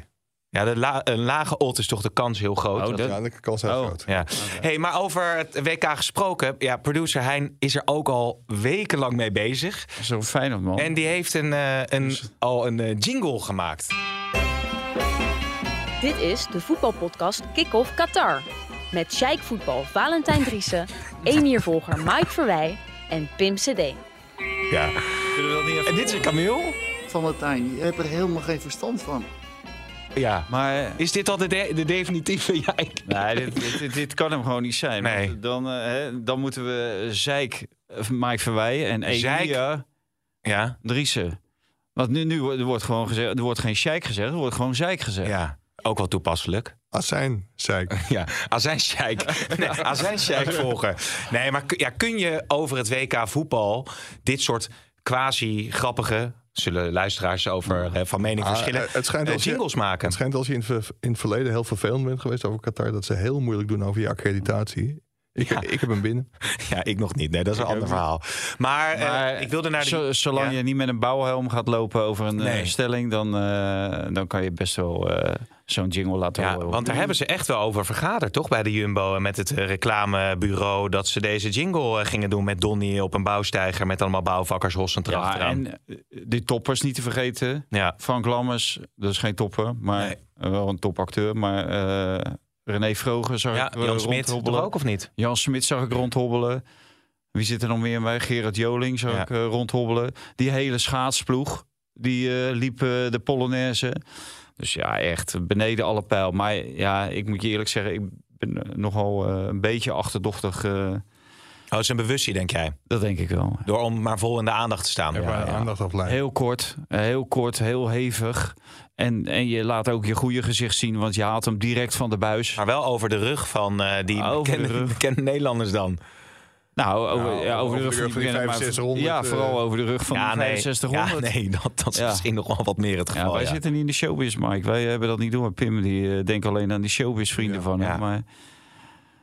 Speaker 3: ja, de la- een lage odds is toch de kans heel groot.
Speaker 4: Oh,
Speaker 3: dat-
Speaker 4: dat-
Speaker 5: Ja, de kans heel
Speaker 4: Oh.
Speaker 5: groot.
Speaker 3: Ja. Hey, maar over het WK gesproken. Ja, producer Hein is er ook al wekenlang mee bezig.
Speaker 4: Zo'n Feyenoord, man.
Speaker 3: En die heeft een, eh, een, al een eh, jingle gemaakt.
Speaker 7: Dit is de voetbalpodcast Kick-Off Qatar. Met Sheikh Voetbal Valentijn Driessen, Emiervolger Mike Verwij en Pim CD.
Speaker 3: Ja. En dit is een kameel?
Speaker 8: Valentijn, je hebt er helemaal geen verstand van.
Speaker 3: Ja.
Speaker 4: Maar...
Speaker 3: Is dit al de, de, de definitieve? Ja, ik-
Speaker 4: Nee, dit, dit, dit- dit kan hem gewoon niet zijn.
Speaker 3: Nee.
Speaker 4: Want Dan, eh, hè, dan moeten we Zijk, eh, Mike Verwij en
Speaker 3: Zeik.
Speaker 4: Elia
Speaker 3: ja.
Speaker 4: Driessen. Want nu, nu wordt- er wordt gewoon gezegd, er wordt geen Sheik gezegd, er wordt gewoon Zijk gezegd.
Speaker 3: ja. Ook wel toepasselijk.
Speaker 5: Azijn, Ah, zei ik.
Speaker 3: Ja, azijnsjijk. Nee, azijnsjijk volgen. Nee, maar kun- ja, kun je over het WK voetbal dit soort quasi grappige... zullen luisteraars over eh, van mening
Speaker 5: Ah,
Speaker 3: verschillen...
Speaker 5: eh, het schijnt
Speaker 3: eh,
Speaker 5: als je-
Speaker 3: jingles maken.
Speaker 5: Het schijnt als je in, het ver- in het verleden heel vervelend bent geweest over Qatar... dat ze heel moeilijk doen over je accreditatie. Ik, ik heb hem binnen.
Speaker 3: Ja, ik nog niet. Nee, dat is een ander verhaal. Maar, eh,
Speaker 4: Maar
Speaker 3: ik wilde naar de...
Speaker 4: zo- zolang
Speaker 3: Ja.
Speaker 4: je niet met een bouwhelm gaat lopen over een eh,
Speaker 3: Nee.
Speaker 4: stelling, dan, eh, dan kan je best wel eh, zo'n jingle laten
Speaker 3: Ja,
Speaker 4: horen.
Speaker 3: want daar hebben ze echt wel over vergaderd, toch? Bij de Jumbo en met het eh, reclamebureau... dat ze deze jingle eh, gingen doen met Donny op een bouwsteiger... met allemaal bouwvakkers, hossend
Speaker 4: ja,
Speaker 3: erachteraan.
Speaker 4: en eh, die toppers niet te vergeten.
Speaker 3: Ja,
Speaker 4: Frank Lammers, dat is geen topper, maar eh, wel een topacteur. Maar eh, René Vroger zag
Speaker 3: ja
Speaker 4: ik eh,
Speaker 3: Jan Smit toch
Speaker 4: rondhobbelen.
Speaker 3: ook of niet?
Speaker 4: Jan Smit zag ik rondhobbelen. Wie zit er nog meer bij? Gerard Joling zag
Speaker 3: Ja.
Speaker 4: ik eh, rondhobbelen. Die hele schaatsploeg, die eh, liep eh, de Polonaise. Dus ja, echt beneden alle pijl. Maar ja, ik moet je eerlijk zeggen, ik ben eh, nogal eh, een beetje achterdochtig. eh,
Speaker 3: Oh, het is een bewustzijn, denk jij.
Speaker 4: dat denk ik wel.
Speaker 3: Door om maar vol in de aandacht te staan.
Speaker 5: Ja,
Speaker 4: ja.
Speaker 5: aandacht afleiden.
Speaker 4: Heel kort, eh, heel kort, heel hevig. En, en je laat ook je goede gezicht zien, want je haalt hem direct van de buis.
Speaker 3: Maar wel over de rug van eh, die
Speaker 4: Over de
Speaker 3: bekende,
Speaker 4: rug.
Speaker 3: bekende Nederlanders dan.
Speaker 4: Nou, over,
Speaker 5: Nou,
Speaker 4: ja, over de rug van die,
Speaker 5: van die
Speaker 4: bekende, maar-
Speaker 5: 6500,
Speaker 4: Ja,
Speaker 5: eh,
Speaker 4: vooral over de rug van
Speaker 3: ja,
Speaker 4: de
Speaker 3: nee.
Speaker 4: 6500.
Speaker 3: Ja, nee, dat, dat is
Speaker 4: Ja.
Speaker 3: misschien nog wel wat meer het
Speaker 4: Ja,
Speaker 3: geval.
Speaker 4: wij
Speaker 3: ja.
Speaker 4: zitten niet in de showbiz, Mike. Wij hebben dat niet door. Pim, die eh, denkt alleen aan die showbiz vrienden
Speaker 5: Ja,
Speaker 4: van hem.
Speaker 3: ja.
Speaker 4: Maar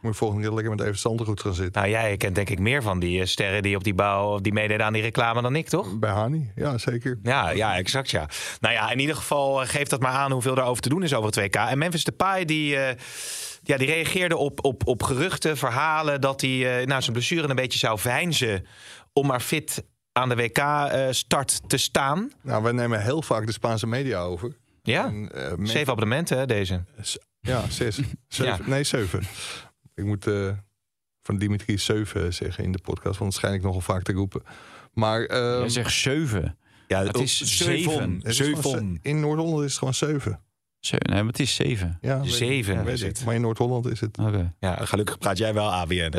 Speaker 5: Moet je volgende keer lekker met even Sandergoed gaan zitten.
Speaker 3: Nou, jij kent denk ik meer van die eh, sterren die op die bouw... die meededen aan die reclame dan ik, toch?
Speaker 5: Bij Hani, ja zeker.
Speaker 3: Ja, ja, exact ja. Nou ja, in ieder geval eh, geeft dat maar aan hoeveel daarover te doen is over het WK. En Memphis Depay die, eh, ja, die reageerde op, op, op geruchten, verhalen... dat hij eh, nou, zijn blessure een beetje zou veinzen om maar fit aan de WK-start te staan.
Speaker 5: Nou, wij nemen heel vaak de Spaanse media over.
Speaker 3: Ja,
Speaker 5: En, eh, men-
Speaker 3: zeven abonnementen hè, deze.
Speaker 5: Ja, zes. Zeven. Nee, zeven. Ik moet eh, van Dimitri zeven zeggen in de podcast, want dat schijn ik nogal vaak te roepen. Maar ehm,
Speaker 4: jij zegt zeven.
Speaker 3: Ja, oh,
Speaker 4: het is zeven.
Speaker 5: het is gewoon ze- in Noord-Holland is het gewoon zeven.
Speaker 4: Ze- Nee, maar het is zeven.
Speaker 5: Ja, weet ik-
Speaker 3: Zeven
Speaker 5: weet
Speaker 3: is
Speaker 5: ik.
Speaker 3: het.
Speaker 5: Maar in Noord-Holland is het.
Speaker 4: Oké.
Speaker 3: Ja, gelukkig praat jij wel ABN.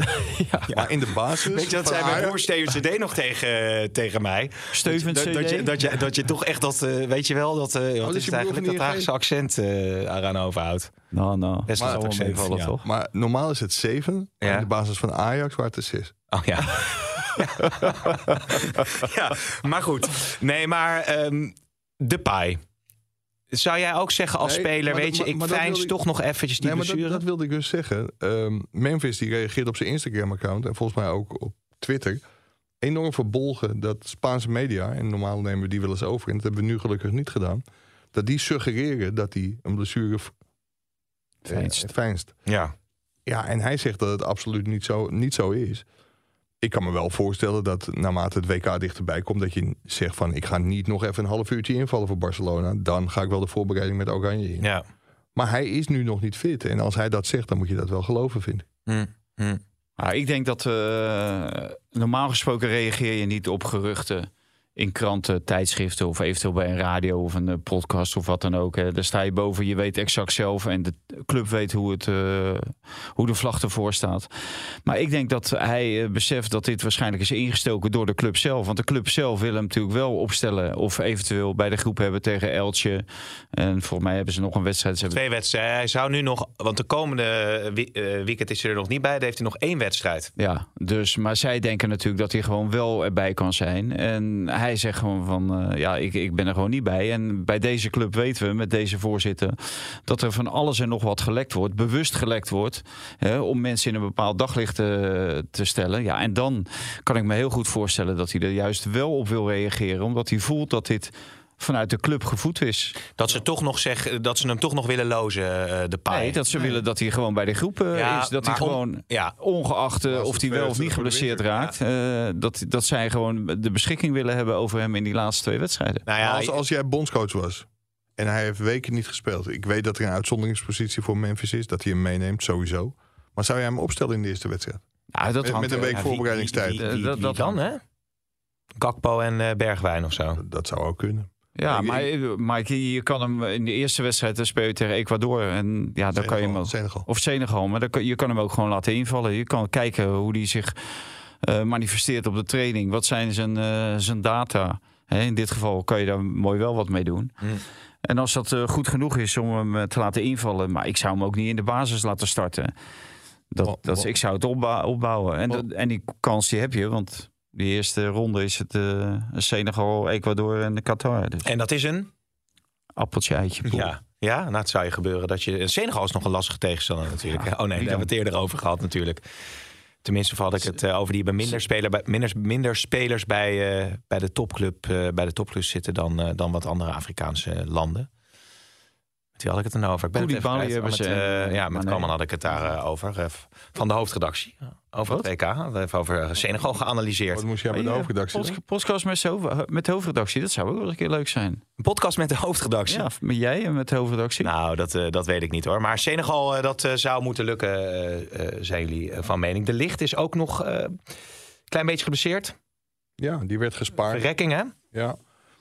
Speaker 5: Maar in de basis.
Speaker 3: Weet je, dat
Speaker 5: van
Speaker 3: zei mijn
Speaker 5: Ajax-
Speaker 3: broer Steven CD nog tegen, eh, tegen mij.
Speaker 4: Steven
Speaker 3: dat,
Speaker 4: CD?
Speaker 3: dat, je, dat, je, dat je toch echt dat, eh, weet je wel, dat, eh, wat
Speaker 5: dus
Speaker 3: is
Speaker 5: je
Speaker 3: het
Speaker 5: broer
Speaker 3: eigenlijk,
Speaker 5: van
Speaker 3: dat
Speaker 5: ING?
Speaker 3: Haagse accent eh eraan overhoudt.
Speaker 4: Nou, nou.
Speaker 3: Best
Speaker 4: Dat
Speaker 3: wel
Speaker 4: zal wel
Speaker 3: accent,
Speaker 4: meevallen,
Speaker 3: ja.
Speaker 4: toch?
Speaker 5: Maar normaal is het zeven. maar
Speaker 3: Ja.
Speaker 5: In de basis van Ajax waar het is zes.
Speaker 3: Oh ja. ja, maar goed. Nee, maar ehm de paai. Zou jij ook zeggen als
Speaker 5: Nee,
Speaker 3: speler,
Speaker 5: maar
Speaker 3: weet
Speaker 5: dat-
Speaker 3: je,
Speaker 5: maar-
Speaker 3: ik
Speaker 5: maar dat
Speaker 3: veins
Speaker 5: wilde ik-
Speaker 3: toch nog eventjes die
Speaker 5: Nee, maar dat,
Speaker 3: blessure?
Speaker 5: dat wilde ik dus zeggen. Ehm, Memphis die reageert op zijn Instagram-account en volgens mij ook op Twitter. Enorm verbolgen dat Spaanse media, en normaal nemen we die wel eens over, en dat hebben we nu gelukkig niet gedaan, dat die suggereren dat hij een blessure v- eh,
Speaker 4: Veinst.
Speaker 5: veinst.
Speaker 3: Ja.
Speaker 5: Ja, en hij zegt dat het absoluut niet zo, niet zo is. Ik kan me wel voorstellen dat naarmate het WK dichterbij komt, dat je zegt van ik ga niet nog even een half uurtje invallen voor Barcelona. Dan ga ik wel de voorbereiding met Oranje in.
Speaker 3: ja.
Speaker 5: Maar hij is nu nog niet fit. En als hij dat zegt, dan moet je dat wel geloven, vind ik.
Speaker 3: Hm, hm.
Speaker 4: Nou, ik denk dat eh, normaal gesproken reageer je niet op geruchten in kranten, tijdschriften of eventueel bij een radio of een eh, podcast of wat dan ook. Hè. Daar sta je boven, je weet exact zelf en de club weet hoe, het, eh, hoe de vlag ervoor staat. Maar ik denk dat hij eh, beseft dat dit waarschijnlijk is ingestoken door de club zelf. Want de club zelf wil hem natuurlijk wel opstellen of eventueel bij de groep hebben tegen Eltje. En voor mij hebben ze nog een wedstrijd. Ze hebben
Speaker 3: Twee wedstrijden. Hij zou nu nog, want de komende wie- eh, weekend is hij er nog niet bij. Dan heeft hij nog één wedstrijd.
Speaker 4: Ja, dus, maar zij denken natuurlijk dat hij gewoon wel erbij kan zijn. En hij zegt gewoon van, eh, ja, ik, ik ben er gewoon niet bij. En bij deze club weten we, met deze voorzitter, dat er van alles en nog wat gelekt wordt. Bewust gelekt wordt, hè, om mensen in een bepaald daglicht eh, te stellen. Ja, en dan kan ik me heel goed voorstellen dat hij er juist wel op wil reageren. Omdat hij voelt dat dit vanuit de club gevoed is.
Speaker 3: Dat ze, toch nog zeggen, dat ze hem toch nog willen lozen, eh, de paai.
Speaker 4: Nee, dat ze willen dat hij gewoon bij de groep eh,
Speaker 3: Ja,
Speaker 4: is. Dat hij
Speaker 3: maar om-
Speaker 4: gewoon
Speaker 3: Ja,
Speaker 4: ongeacht eh,
Speaker 5: Als
Speaker 4: of
Speaker 5: het
Speaker 4: hij wel of
Speaker 5: verder
Speaker 4: niet
Speaker 5: voor de
Speaker 4: geblesseerd
Speaker 5: winter,
Speaker 4: raakt, eh, dat, dat zij gewoon de beschikking willen hebben over hem in die laatste twee wedstrijden.
Speaker 3: nou ja,
Speaker 5: als, als jij bondscoach was en hij heeft weken niet gespeeld. Ik weet dat er een uitzonderingspositie voor Memphis is. Dat hij hem meeneemt, sowieso. Maar zou jij hem opstellen in de eerste wedstrijd?
Speaker 4: Ja, dat
Speaker 5: Met-
Speaker 4: hangt,
Speaker 5: met een
Speaker 4: eh,
Speaker 5: week
Speaker 3: ja,
Speaker 5: voorbereidingstijd.
Speaker 3: wie- wie- wie-
Speaker 4: Eh, dat-
Speaker 3: wie
Speaker 4: dat-
Speaker 3: dan, hè? Gakpo en eh, Bergwijn of zo.
Speaker 5: Dat, dat zou ook kunnen.
Speaker 4: Ja,
Speaker 5: Ik-
Speaker 4: maar eh, Mike, je je kan hem in de eerste wedstrijd dan speel je tegen Ecuador. En ja, dan kan je hem ook.
Speaker 5: Senegal.
Speaker 4: Of Senegal, maar dan kan, je kan hem ook gewoon laten invallen. Je kan kijken hoe hij zich eh, manifesteert op de training. Wat zijn zijn, eh, zijn data? Hè, in dit geval kan je daar mooi wel wat mee doen.
Speaker 5: Hmm.
Speaker 3: Mm.
Speaker 4: En als dat eh, goed genoeg is om hem eh, te laten invallen, maar ik zou hem ook niet in de basis laten starten. Dat,
Speaker 5: Wa-
Speaker 4: dat,
Speaker 5: wa-
Speaker 4: ik zou het opbou- opbouwen. En,
Speaker 5: Wa-
Speaker 4: dat- en die kans die heb je, want de eerste ronde is het eh, Senegal, Ecuador en Qatar. Dus
Speaker 3: En dat is een?
Speaker 4: appeltje, eitje, poel.
Speaker 3: Ja. Ja, nou het zou je gebeuren dat je... Senegal is nog een lastige tegenstander natuurlijk. hè? oh nee, daar
Speaker 4: dan?
Speaker 3: hebben we het eerder over gehad natuurlijk. Tenminste, of had ik het eh, over die bij minder, speler, bij, minder, minder spelers bij, eh, bij, de topclub, eh, bij de topclub zitten dan, eh, dan wat andere Afrikaanse landen. Met wie had ik het er nou over? Ik ben het even
Speaker 4: Koulibaly
Speaker 3: kwijt.
Speaker 4: hebben
Speaker 3: Oh,
Speaker 4: ze,
Speaker 3: met, eh,
Speaker 4: eh,
Speaker 3: ja, met
Speaker 4: Mané.
Speaker 3: Kalman had ik het daar eh, over. eh, van de hoofdredactie. Over het WK. Hadden we even over eh, Senegal geanalyseerd.
Speaker 5: Wat moest jij met de
Speaker 4: Ja,
Speaker 5: hoofdredactie
Speaker 4: pod-
Speaker 5: doen?
Speaker 4: podcast met, z'n- met de hoofdredactie, dat zou ook wel een keer leuk zijn.
Speaker 3: Een podcast met de hoofdredactie.
Speaker 4: Ja, met jij en met de hoofdredactie.
Speaker 3: Nou, dat, eh, dat weet ik niet hoor. Maar Senegal, eh, dat eh, zou moeten lukken, eh, eh, zijn jullie eh, van mening. De licht is ook nog eh, een klein beetje geblesseerd.
Speaker 5: Ja, die werd gespaard.
Speaker 3: Verrekking, hè?
Speaker 5: Ja.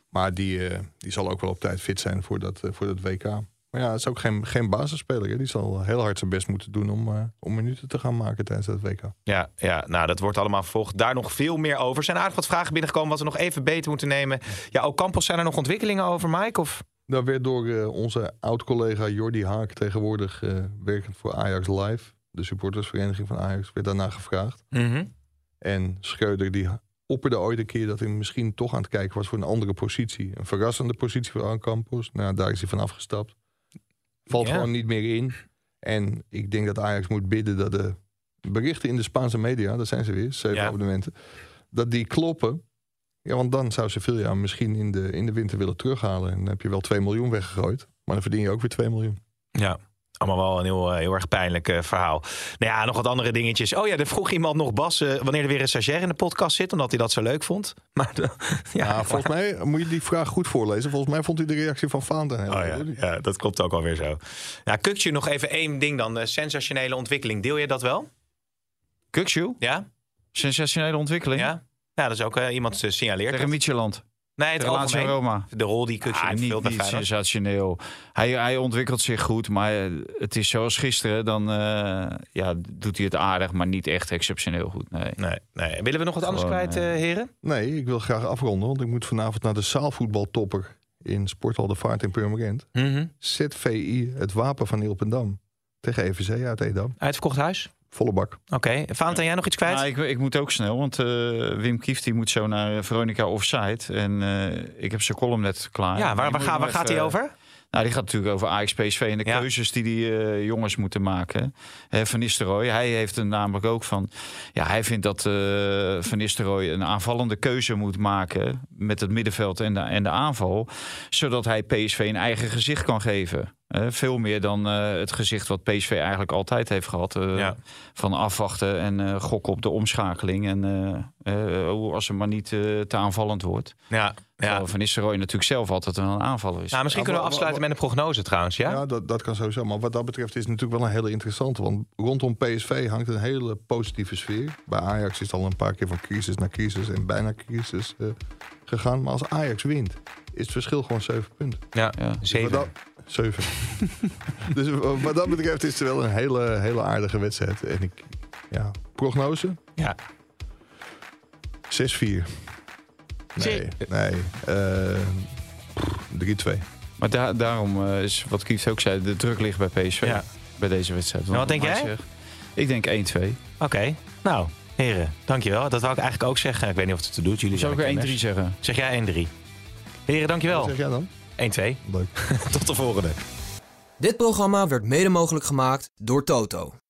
Speaker 5: Maar die, eh, die zal ook wel op tijd fit zijn voor dat, eh, voor dat WK. Maar ja, het is ook geen, geen basisspeler. Hè. Die zal heel hard zijn best moeten doen om, eh, om minuten te gaan maken tijdens dat WK.
Speaker 3: Ja, ja, nou, dat wordt allemaal vervolgd. Daar nog veel meer over. Er zijn aardig wat vragen binnengekomen wat we nog even beter moeten nemen. Ja, ook Campos, zijn er nog ontwikkelingen over, Mike? Of?
Speaker 5: Daar werd door eh, onze oud-collega Jordi Haak, tegenwoordig eh, werkend voor Ajax Live, de supportersvereniging van Ajax, werd daarna gevraagd.
Speaker 3: Mhm.
Speaker 5: En Schreuder die opperde ooit een keer dat hij misschien toch aan het kijken was voor een andere positie. Een verrassende positie voor Aan Campos. Nou, daar is hij van afgestapt. Valt
Speaker 3: Ja.
Speaker 5: gewoon niet meer in. En ik denk dat Ajax moet bidden dat de berichten in de Spaanse media, daar zijn ze weer, zeven
Speaker 3: Ja.
Speaker 5: abonnementen, dat die kloppen. Ja, want dan zou Sevilla hem misschien in de, in de winter willen terughalen. En dan heb je wel 2 miljoen weggegooid. Maar dan verdien je ook weer 2 miljoen.
Speaker 3: Ja. Allemaal wel een heel, eh, heel erg pijnlijk eh, verhaal. Nou ja, nog wat andere dingetjes. Oh ja, er vroeg iemand nog Bas eh, wanneer er weer een stagiair in de podcast zit, omdat hij dat zo leuk vond. Maar eh, ja,
Speaker 5: Ja, volgens mij moet je die vraag goed voorlezen. Volgens mij vond hij de reactie van Vaandaan heel
Speaker 3: Oh ja,
Speaker 5: goed.
Speaker 3: ja, dat klopt ook alweer zo. Ja, Kukje, nog even één ding dan. Eh, sensationele ontwikkeling. Deel je dat wel?
Speaker 4: Kukshoe,
Speaker 3: Ja?
Speaker 4: sensationele ontwikkeling.
Speaker 3: Ja? Ja, dat is ook eh, iemand eh, signaleert.
Speaker 4: Tegen
Speaker 3: dat.
Speaker 4: Micheland.
Speaker 3: nee, het
Speaker 4: Tegen Lazio
Speaker 3: algemeen.
Speaker 4: Roma.
Speaker 3: De rol die Kukje
Speaker 4: Ah,
Speaker 3: heeft
Speaker 4: niet,
Speaker 3: speelt bij
Speaker 4: niet
Speaker 3: Feyenoord.
Speaker 4: sensationeel. Hij, hij ontwikkelt zich goed, maar eh, het is zoals gisteren. Dan eh, ja, doet hij het aardig, maar niet echt exceptioneel goed. Nee.
Speaker 3: Nee, nee. Willen we nog wat anders
Speaker 4: Gewoon,
Speaker 3: kwijt, eh,
Speaker 4: eh,
Speaker 3: heren?
Speaker 5: Nee, ik wil graag afronden, want ik moet vanavond naar de zaalvoetbaltopper in Sporthal de Vaart in Purmerend.
Speaker 4: Mhm.
Speaker 5: ZVI, het wapen van Ilpendam. Tegen E EVC uit Edam.
Speaker 3: Uitverkocht huis?
Speaker 5: Volle bak.
Speaker 3: Oké. Okay. Vaanten, jij nog iets kwijt?
Speaker 4: Nou, ik, ik moet ook snel, want eh, Wim Kieft die moet zo naar eh, Veronica Offside. En eh, ik heb zijn column net klaar.
Speaker 3: ja,
Speaker 4: Die
Speaker 3: waar, waar,
Speaker 4: moet
Speaker 3: ga-
Speaker 4: nog
Speaker 3: waar gaat hij
Speaker 4: even-
Speaker 3: over?
Speaker 4: Nou, die gaat natuurlijk over Ajax, PSV en de
Speaker 3: Ja.
Speaker 4: keuzes die die eh, jongens moeten maken. Hè, van Nistelrooy, hij heeft er namelijk ook van... Ja, hij vindt dat eh Van Nistelrooy een aanvallende keuze moet maken... met het middenveld en de, en de aanval. Zodat hij PSV een eigen gezicht kan geven. Eh, veel meer dan eh, het gezicht wat PSV eigenlijk altijd heeft gehad. eh,
Speaker 3: Ja.
Speaker 4: Van afwachten en eh, gokken op de omschakeling. En eh, eh, oh, als het maar niet eh, te aanvallend wordt.
Speaker 3: Ja, ja.
Speaker 4: Terwijl Van Nistelrooy natuurlijk zelf altijd een aanvaller is.
Speaker 3: Nou, misschien kunnen we afsluiten met een prognose trouwens, ja?
Speaker 5: Ja, dat, dat kan sowieso. Maar wat dat betreft is het natuurlijk wel een hele interessante. Want rondom PSV hangt een hele positieve sfeer. Bij Ajax is het al een paar keer van crisis naar crisis en bijna crisis eh, gegaan. Maar als Ajax wint, is het verschil gewoon 7 punten.
Speaker 3: Ja,
Speaker 4: Ja.
Speaker 5: Dus wat
Speaker 3: zeven.
Speaker 5: dat- zeven. dus eh, wat dat betreft is het wel een hele, hele aardige wedstrijd. En ik, ja, prognose?
Speaker 3: Ja.
Speaker 5: 6-4. Nee, nee. eh, pff, 3-2.
Speaker 4: Maar da- daarom eh, is wat Kieft ook zei, de druk ligt bij PSV
Speaker 3: Ja.
Speaker 4: bij deze wedstrijd.
Speaker 3: Nou, wat
Speaker 4: Want
Speaker 3: denk
Speaker 4: hij
Speaker 3: jij?
Speaker 4: zegt- Ik denk 1-2.
Speaker 3: Oké, nou, heren, dankjewel. Dat wou ik eigenlijk ook zeggen. Ik weet niet of het te doet. Jullie
Speaker 4: Zou
Speaker 3: zijn
Speaker 4: ik er 1-3
Speaker 3: kenners.
Speaker 4: zeggen?
Speaker 3: Zeg jij 1-3. Heren,
Speaker 5: Wat
Speaker 3: dankjewel.
Speaker 5: zeg jij dan?
Speaker 3: 1-2.
Speaker 5: Leuk.
Speaker 3: Tot de volgende.
Speaker 1: Dit programma werd mede mogelijk gemaakt door Toto.